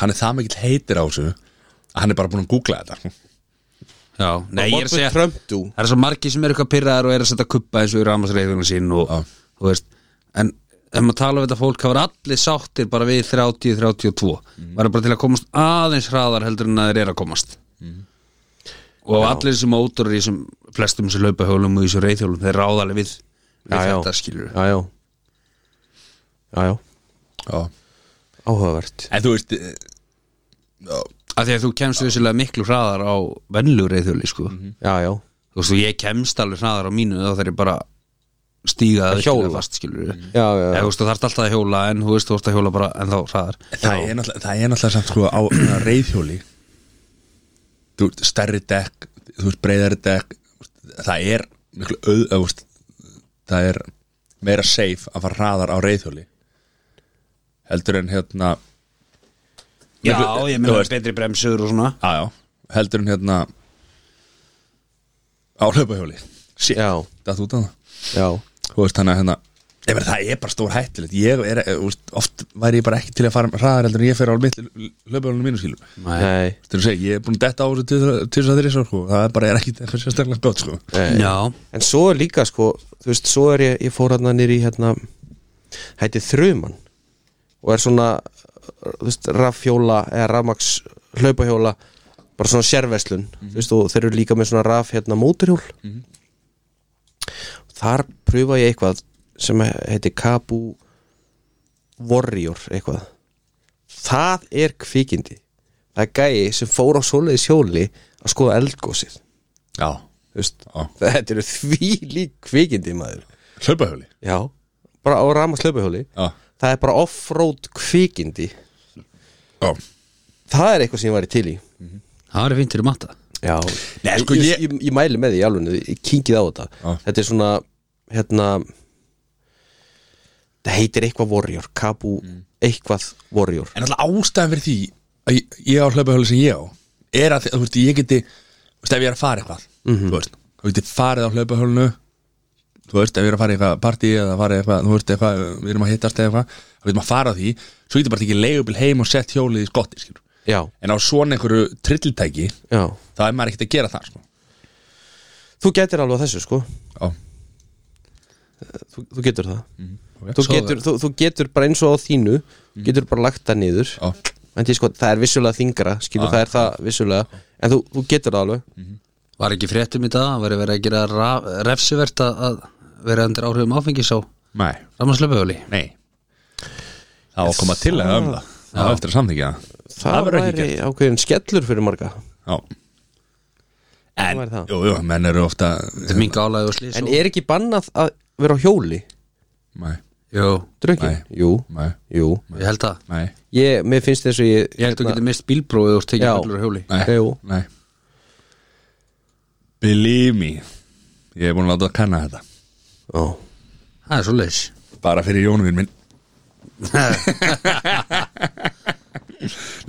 Hann er það mikill heitir á þessu að Hann er bara búin að googla þetta Já, nei, ég er að segja Trump do Það er svo margir sem eru eitthvað pyrraðar og eru að setja kuppa eins og í rámasreiðunum sín og, Já. þú veist, en ef maður tala við þetta fólk, það var allir sáttir bara við 30-32 Mhm. mm. var bara til að komast aðeins hraðar heldur en að þeir eru að komast Mhm. og allir þessi mótorar í þessum flestum sem laupa hjólum og í þessum reiðhjólum þeir ráða alveg við, við Ah, já, já, þetta skilur já, já, já, já. Já. áhugavert En þú veist eh, af því að þú kemst vissulega miklu hraðar á vennlu reiðhjóli sko já, já, þú veist, og ég kemst alveg hraðar á mínu þá þarf ég bara stíga að hjóla. Mhm. fast skilur já, já, Eða, já. þú veist, þú þarft alltaf að hjóla en þú veist, þú veist að hjóla bara en þá hraðar það er, náttúrulega- það er náttúrulega samt sko á reyðhjóli Þú veist, stærri dekk Þú veist, breyðari dekk þú veist, Það er miklu auð eða, þú veist, Það er meira safe að fara hraðar á reyðhjóli Heldur en hérna Já, Miklu- ég þú meina veist- betri bremsur og svona Já, já, heldur en hérna á hlaupahjóli Shit, Já. datt út af það já. Þú veist, þannig að hérna Ég meina, það er bara stór hættilegt Ég er, eh, þú veist, oft væri ég bara ekki til að fara hraðar heldur en ég fer á mitt hlaupahjólinu mínu skilur Þú Nei, veist, þú segir, ég er búin að detta á þessu til til þess að þeirri svo, sko Það er bara, ég er ekki eitthvað sérstaklega gott, sko nei. Já, En svo er líka sko Þú veist, svo er ég, ég fór hérna nýr í hérna Hætti þruman Og er svona Þú veist, rafhjóla eða rafmaks Hlaupahjóla, bara svona sérverslun Þú veist, og þeir eru líka með svona raf Hérna móturhjól Þar pröfa ég eitthvað Sem heiti Kabu Warrior eitthvað Það er kvikindi Það er gæi sem fór á svoleiðis hjóli Að skoða eldgósið Já, Þú veist, Já. þetta eru því lík kvikindi maður hlaupahjóli já, bara á rama slöpuhjóli Já, það er bara offroad kvikindi já það er eitthvað sem ég væri til í það er fint fyrir matta já, Nei, sko, ég, ég- ég, ég mæli með því alveg, ég kynkið á þetta Já. þetta er svona hérna það heitir eitthvað warrior, kabu eitthvað warrior En alltaf ástæðan fyrir því að ég, ég á hlaupahjóli sem ég á er að, þú veist, ég geti þú veist, ef ég er að fara eitthvað þú veist, þá geti farið á hlaupahjólinu þú veist, ef ég er að fara í eitthvað partí eða fara í eitthvað, þú veist, eitthvað, við erum að hittast eða eitthvað, þá getum að fara á því svo getur bara tekið leigubil heim og sett hjólið í skotti skilur. já, en á svona einhverju trilltæki já, þá er maður ekkert að gera það sko. þú getur alveg að þessu sko Ó, þú, þú getur það ok. þú, getur, þú, þú getur bara eins og á þínu getur bara lagt það niður Já. en því sko, það er vissulega þingra skilur, Ah, það er það vissulega en þú, þú getur það alveg Mm. Var ekki fréttum í dag, var verið að gera raf, refsivert að, að vera undir áhrifum áfengis á Nei, ramaslöfuhjóli nei þá á að koma til að um það þá á eftir að samþykja það það, verður ekki væri ákveðin skellur fyrir marga Já En, væri það. jú, jú, menn eru ofta Þetta er minga álæði og slýs en er ekki bannað að vera á hjóli Nei, Jú, drökin? Nei. Jú, nei, jú ég held að nei, ég, mér finnst þess að ég Ég held að þú getur mist bílbróið og tekið Já. fullur á hjóli nei, Jú. nei Believe me Ég er búin að láta að kanna þetta Ó. Það er svo leys Bara fyrir Jónuvinn minn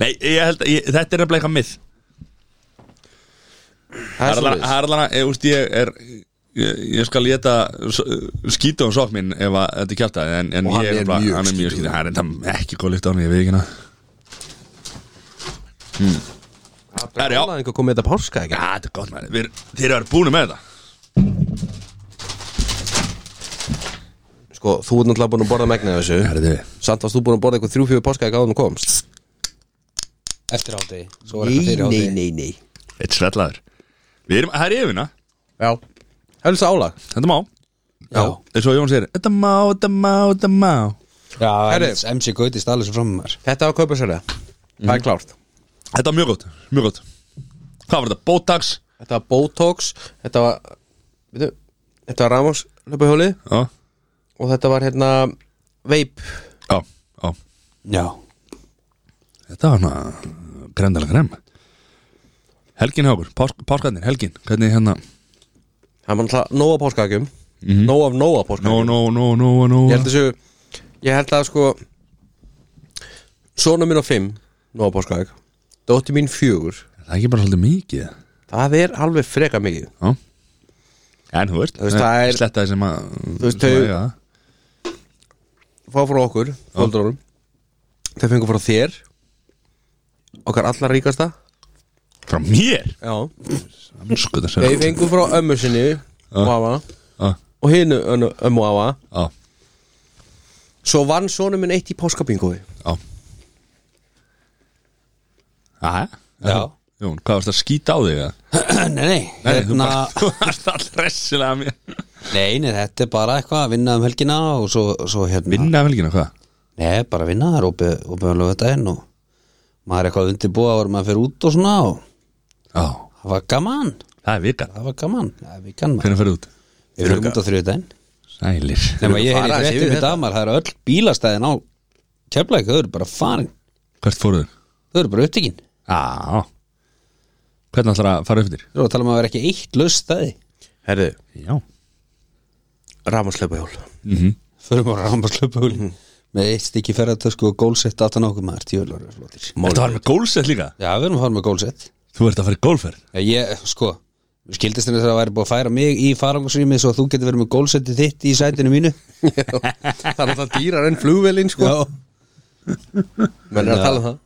Nei, ég held að ég, þetta er nefnilega eitthvað mið Það er alveg- svolítið Það er alveg, ég, úst, eh, ég er Ég, ég skal leta skýta um sokk minn ef að þetta er kjartaði en, en Og hann ég er bara- mjög hann er mjög skýta hann er enda ekki góð lykt á hann, ég veit ekki hana Það er já. alveg að koma með þetta páska Já, ekki þetta er gott maður, Við- þeir eru búinu með þetta Sko, þú ert náttúrulega búin að borða megna af þessu Herðu, Samt varst þú búin að borða eitthvað þrjú-fjögur páska ekki áður en þú komst Eftir hátegi Svo var eitthvað fyrir hátegi nei, nei eitt svellaður Við erum, það er yfirna, Já Helst álag þetta má Já eins og Jón segir, þetta má, þetta má, þetta má Já, Herri. einmitt, MC Gauti stalið svo fram um mér Þetta var kaupasæri Það Mhm. er klárt Þetta var mjög gott, mjög gott Hvað var þetta, Botox? Þetta var Botox Þetta var veitu, Þetta var Ramos löpahjóli Já, Og þetta var hérna Veip já, já Já Þetta var hana grendala grem Helgin hjá okkur, pás, páskarnir, helgin Hvernig hérna, Það var náttúrulega nóg af páskakum Nóg af nóg af páskakum no, no, no, no, no Ég held þessu Ég held að sko Sona mín á fimm Nóg af páskak Dótti mín fjögur Það er ekki bara svolítið mikið Já Það er alveg freka mikið En þú veist, Þú veist, það er- sletta sem að Þú veist, þau- Fá frá okkur Fóldrónum Þau fengur frá þér Okkar allar ríkasta Frá mér Já Sko það Þeir sem fengur frá ömmu sinni Og hafa Já, Og hinu önnu- ömmu og hafa já, Svo vann sonum minn eitt í páskabingói já Aha. Já. Jón, hvað varst að skýta á þig? eða? Nei, nei, Nei, þú hérna bara- þú varst allra ressilega mér Nei, nei, þetta er bara eitthvað að vinna um helgina og svo, svo hérna Vinna velgina, hvað? Nei, bara vinna, það er opið, opið alveg þetta inn og maður er eitthvað undirbúa og maður fyrir út og svona og Já, það var gaman, það er vikan það var gaman það er vikan maður, Hvernig ferðu út? við erum út á þriðudaginn Sælir nema ég fara heyri aðeins fréttum yfir í damar, það eru öll bílastæðin á keflæk, þau eru bara farin Hvert fóruður? þau eru bara upptíkin, Já Hvernig ætlar að fara upp þér? þau eru að tala um að vera ekki eitt laust stæði, Herðu Já Ramaslaupa hjól mm -hmm. þau eru bara rámbarslöpuhul Mhm. mm. með eitt stykki ferðartösku og gólsett aftan á okkur maður, tjóðlar eru flottir Ertu að fara með gólsett líka? já, við erum að fara með gólsett Þú ert að fara í gólferð Já, Ég, sko, skildist henni þegar að væri búið að færa mig í farangarsrými svo að þú getur verið með gólsetti þitt í sætinu mínu Það er alltaf dýrar enn flugvelin sko Menn er að tala um það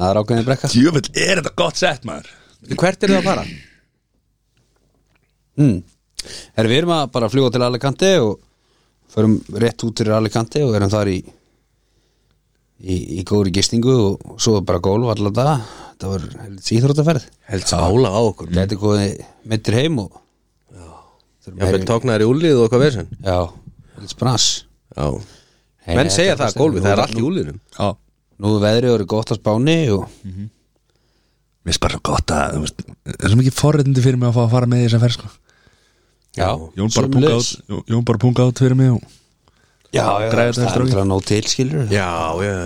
Það er ákveðin brekka Djöfull, er þetta gott sett maður? Veitu, Hvert er það að fara? mm. Herra, Við erum að bara fljúga til Alicante og förum rétt út fyrir Alicante og erum þar í í, í góri gistingu og svo er bara gólf allan dag það var helvits íþróttaferð Helds ála á okkur Mm. Gæti góði mittir heim og Já, fyrir tóknaður í úlið og eitthvað verðsinn Já, helvits brans Já Nei, Menn nei, segja þetta það er að gólfi, það er bara- allt í úliðnum Já Nú er veðrið orðið gott á spáni og Mér er bara svo gott að þú veist, Það er svo mikið forréttindi fyrir mig að fá að fara með í þessa ferð sko. Já, Jón bara punga sömuleiðis. át Jón- Jón bara punga át fyrir mig og... Já, já, það Græða er þetta eftir náttúrulega nóg til skilur Já, já,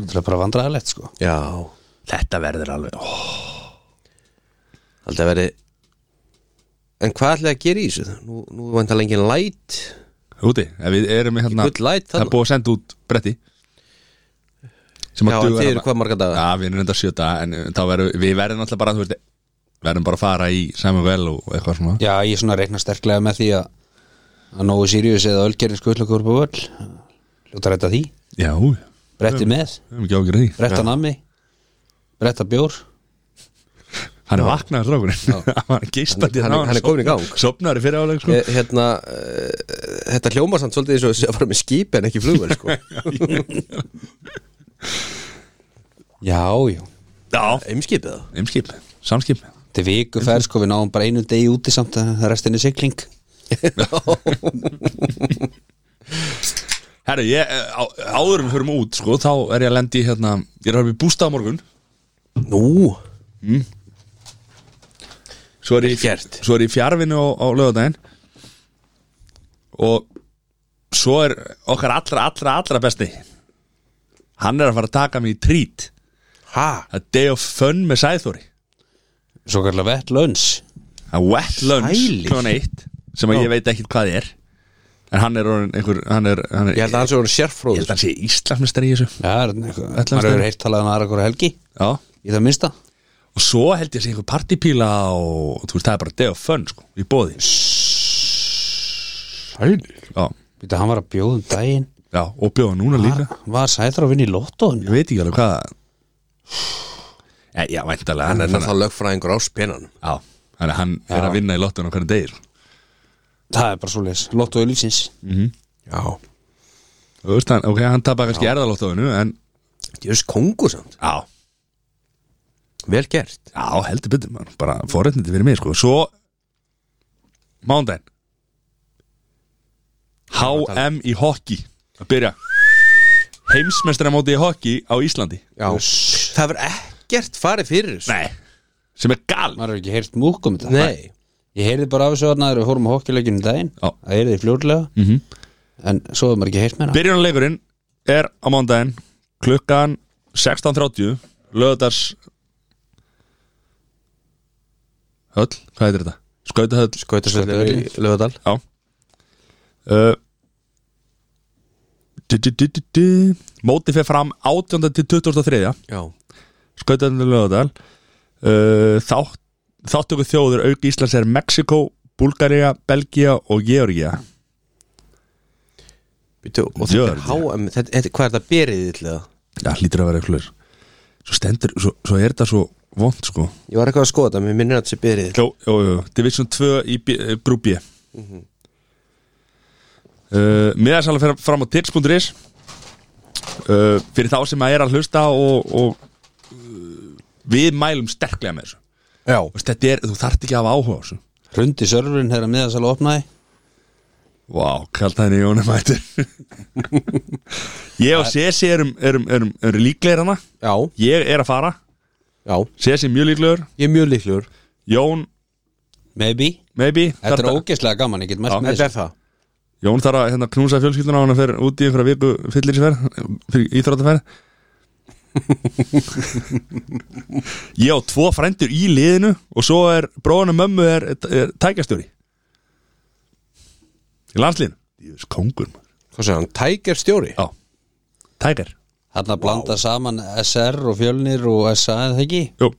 Það er bara vandræðalegt sko já Já Þetta verður alveg ó, Haldið að veri En hvað ætlaði að gera í þessu? Nú, nú er vantar lengi light Úti, ef við erum með hérna Good light Það er þarna búið að senda út bretti Sem Já, að en duga þið eru þarna. hvað marga daga? Já, við erum reyndar sjö daga En uh, þá verðum við verðum alltaf bara, þú veist Verðum bara að fara í Samuel Well og eitthvað svona Já, ég svona reikna sterklega með því að að nógu Sirius eða Ölgerinn skullakor på völl Ljóta rétta því Já, við Bretti með, höfum ekki ágjur því bretta nammi Bretta bjór Hann er vaknaður strákurinn Hann var geistandi Hann- hann- hann er kominn í gang. Sopnaður í fyrir áleg sko Eh, hérna, uh, þetta hljóma samt svolítið eins og þessi að fara með skip en ekki flugvel sko. Já, já Já Eimskipið það Imskip Samskip Þetta er viku ferð sko, við náum bara einu degi úti samt að restinni sigling Herru, ég eh, á, Áður en við hörum út sko Þá er ég að lendi hérna Ég er að höfum í bústað á morgun Nú, Svo er ég, Vel gert. svo er ég í fjarfinu á, á lögadaginn Og Svo er okkar allra, allra, allra besti Hann er að fara að taka mig í trít ha, A day of fun með Sæþóri Svo kallar vett lönns Það er wet lunch Sælir. klukkan eitt, Sem að ég veit ekkit hvað er En hann er orðin einhver Hann er, hann er Ég held að hann sé ég orðin held sérfróður að hann sé Íslandsmestari í þessu Já, er- maður hefur heitt talað um aðra hverja helgi Já Í það minnsta Og svo held ég að sé einhver partypíla og þú veist, það er bara day of fun, sko, í bóði Sælir Já, Býta, hann var að bjóða um daginn já, og bjóða núna líka Ha, Var sæður að vinna í lottóinu Ég veit ekki alveg hvað Já, já, væntalega Hann er náttúrulega lögfræðingur á spenanum Já, hann, hann er að vinna í lottun á sko. hvernig degir Það er bara svo leis, lottói lífsins Já, Þú veist, hann, ok, hann tapar kannski erðalottóinu En, ég veist kongur samt já, Vel gert já, heldur betur man. Bara forréttindi fyrir mig, sko Svo, mándaginn HM í hockey Að byrja Heimsmestramóti í hockey á Íslandi Já Það verður ekkert farið fyrir þessu Nei, sem er gal Maður hefur ekki heyrt múk um þetta Nei. Ég heyrði bara af þessu þarna þegar við fórum á hokkileikinu um daginn Já. Það heyrði fljótlega mm -hmm. Mhm. En svo hefur maður ekki heyrt meira Byrjunarleikurinn er á mándaginn klukkan 16.30 lögðars höll, hvað heitir þetta? Skautahöll Skautasöldur í Lögadal Já uh, du, du, du, du, du. Mótið fyrir fram 18. til 23. Já Skautahöll lögðardal uh, Þátt Þáttöku þjóður auki Íslands er Mexiko, Búlgaria, Belgia og Georgia Býtu, Og þetta er Jörn, HM þetta, þetta, Hvað er þetta berið til það? Já, hlýtur að vera eitthvað svoleiðis. Svo stendur, svo, svo er þetta svo vond sko Ég var eitthvað að skoða þetta Mér minnir að þetta sé berið Jó, jó, jó, Division 2 í grúpi mm Mhm. -hmm. uh, Miðarsala fer fram á tix.is uh, Fyrir þá sem að er að hlusta og, og uh, við mælum sterklega með þessu Já Þú veist, Þetta er, þú þarft ekki að hafa áhuga á þessu Hrundi sörfurinn þegar miðasal opnaði Vá, kallt henni Jóni mætur Ég og Sesi erum, erum, erum, erum líklegir hana Já, Ég er að fara, já Sesi er mjög líklegur Ég er mjög líklegur Jón, Maybe maybe Þetta er Þarf að- ógeðslega gaman, ég get mælt með Þetta er þessu það Jón þarf að hérna, knúsa fjölskylduna á hann að fer út í einhverja viku fyllirisverð fyrir íþróttaferð Ég á tvo frændur í liðinu og svo er bróðanum mömmu er, er tækjastjóri í landsliðinu Jés, kongur maður. Hvað segja hann? Tiger stjóri? Já, tækjar Þarna blanda saman SR og fjölnir og SA eða ekki Jú.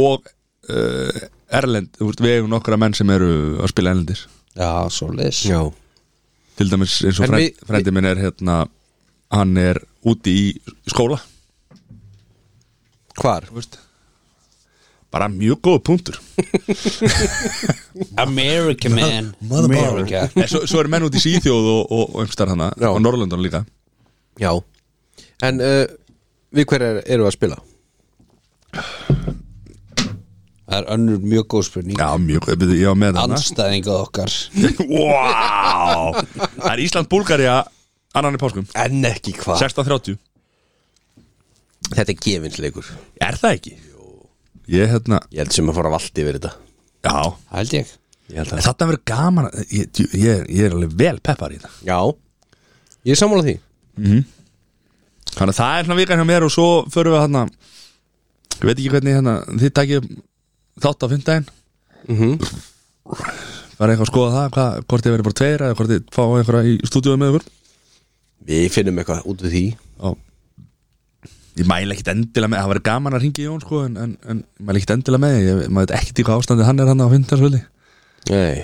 og uh, Erlend, þú veist, við eigum nokkra menn sem eru að spila erlendis Já, svo leis Já til dæmis eins og En frænd, við- frændi minn er hérna, hann er úti í skóla Hvar? bara mjög góð punktur America man America Nei, svo, svo eru menn út í Svíþjóð og, og, og umstar hana Já. og Norrlöndun líka Já En uh, við hverja er, eru að spila? Það er önnur mjög góð spurning Já, mjög, við- ég var með hana Anstæðingað okkar Wow Það er Ísland-Búlgaria annan í páskum En ekki hvað 16.30 Þetta er gefinsleikur Er það ekki? Ég hérna, Ég held sem að fara valdi yfir þetta já Held ég Ég held Þetta verður gaman að- ég, djú- ég, ég er alveg vel peppar í það Já Ég er sammála því Þannig að það er svona vikan hjá mér og svo förum við hérna Ég veit ekki hvernig hérna Þið takið upp þátt á fimmtæðin -hmm. Bara eitthvað að skoða það hvað, Hvort þið verið bara tveir eða hvort þið fá einhverja í stúdíóið með ykkur Við finnum eitthvað út við því Já Ég mæla ekkit endilega með, það væri gaman að ringi Jón sko En, en, en ég mæla ekkit endilega með, ég maður veit ekkit í hvað ástandi hann er hann á hundarsvöldi Nei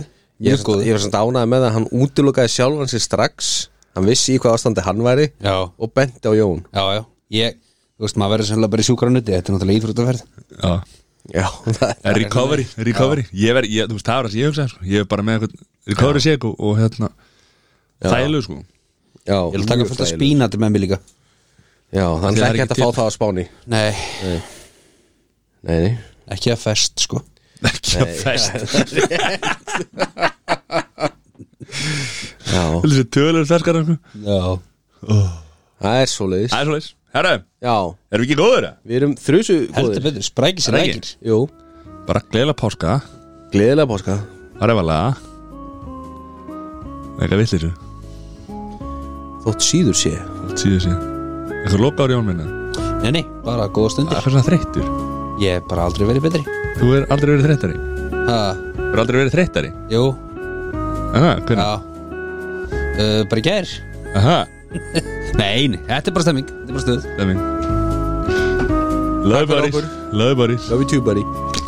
Ég var Mjög samt, góð ég var samt ánæði með að hann útilokaði sjálfan sér strax Hann vissi í hvað ástandi hann væri Já Og benti á Jón Já, já, ég, þú veist, maður verður sennilega bara í sjúkranuti, þetta er náttúrulega íþróttaferð Já, Já það- en recovery, recovery Ég verð, ég, þú veist, það var það sem ég hugsaði sko Ég er bara með eitthvað recovery seg og, og hérna Þælu sko Já Ég vil taka fullt að þægilegur. spína þetta með mér líka Já, Það þannig er er ekki ekki hægt að fá til. það á spáni Nei, Nei, nei ekki að fest, sko Ekki að fest Já Þessi tölur ferskar sko Já Það er svoleiðis Það er svoleiðis, herra, Já erum við ekki góður það? Við erum þrjusu Heldur betur, sprækir Er sér það lækir Jú Bara gleðilega páska, Gleðilega páska það er valega Eitthvað villir svo, Þótt síður sé allt síðu síðan Eitthvað loka á Jón minna Nei, nei, bara góða Það stundir er fyrir svona þreyttur Ég hef bara aldrei verið betri Þú er aldrei verið þreyttari Ha, Þú er aldrei verið þreyttari jú, Aha, hvernig? Já uh, Bara í gær Aha, Nei, nei, þetta er bara stemming Þetta er bara stuð það er mín Löðbaris Löðbaris Love you too buddy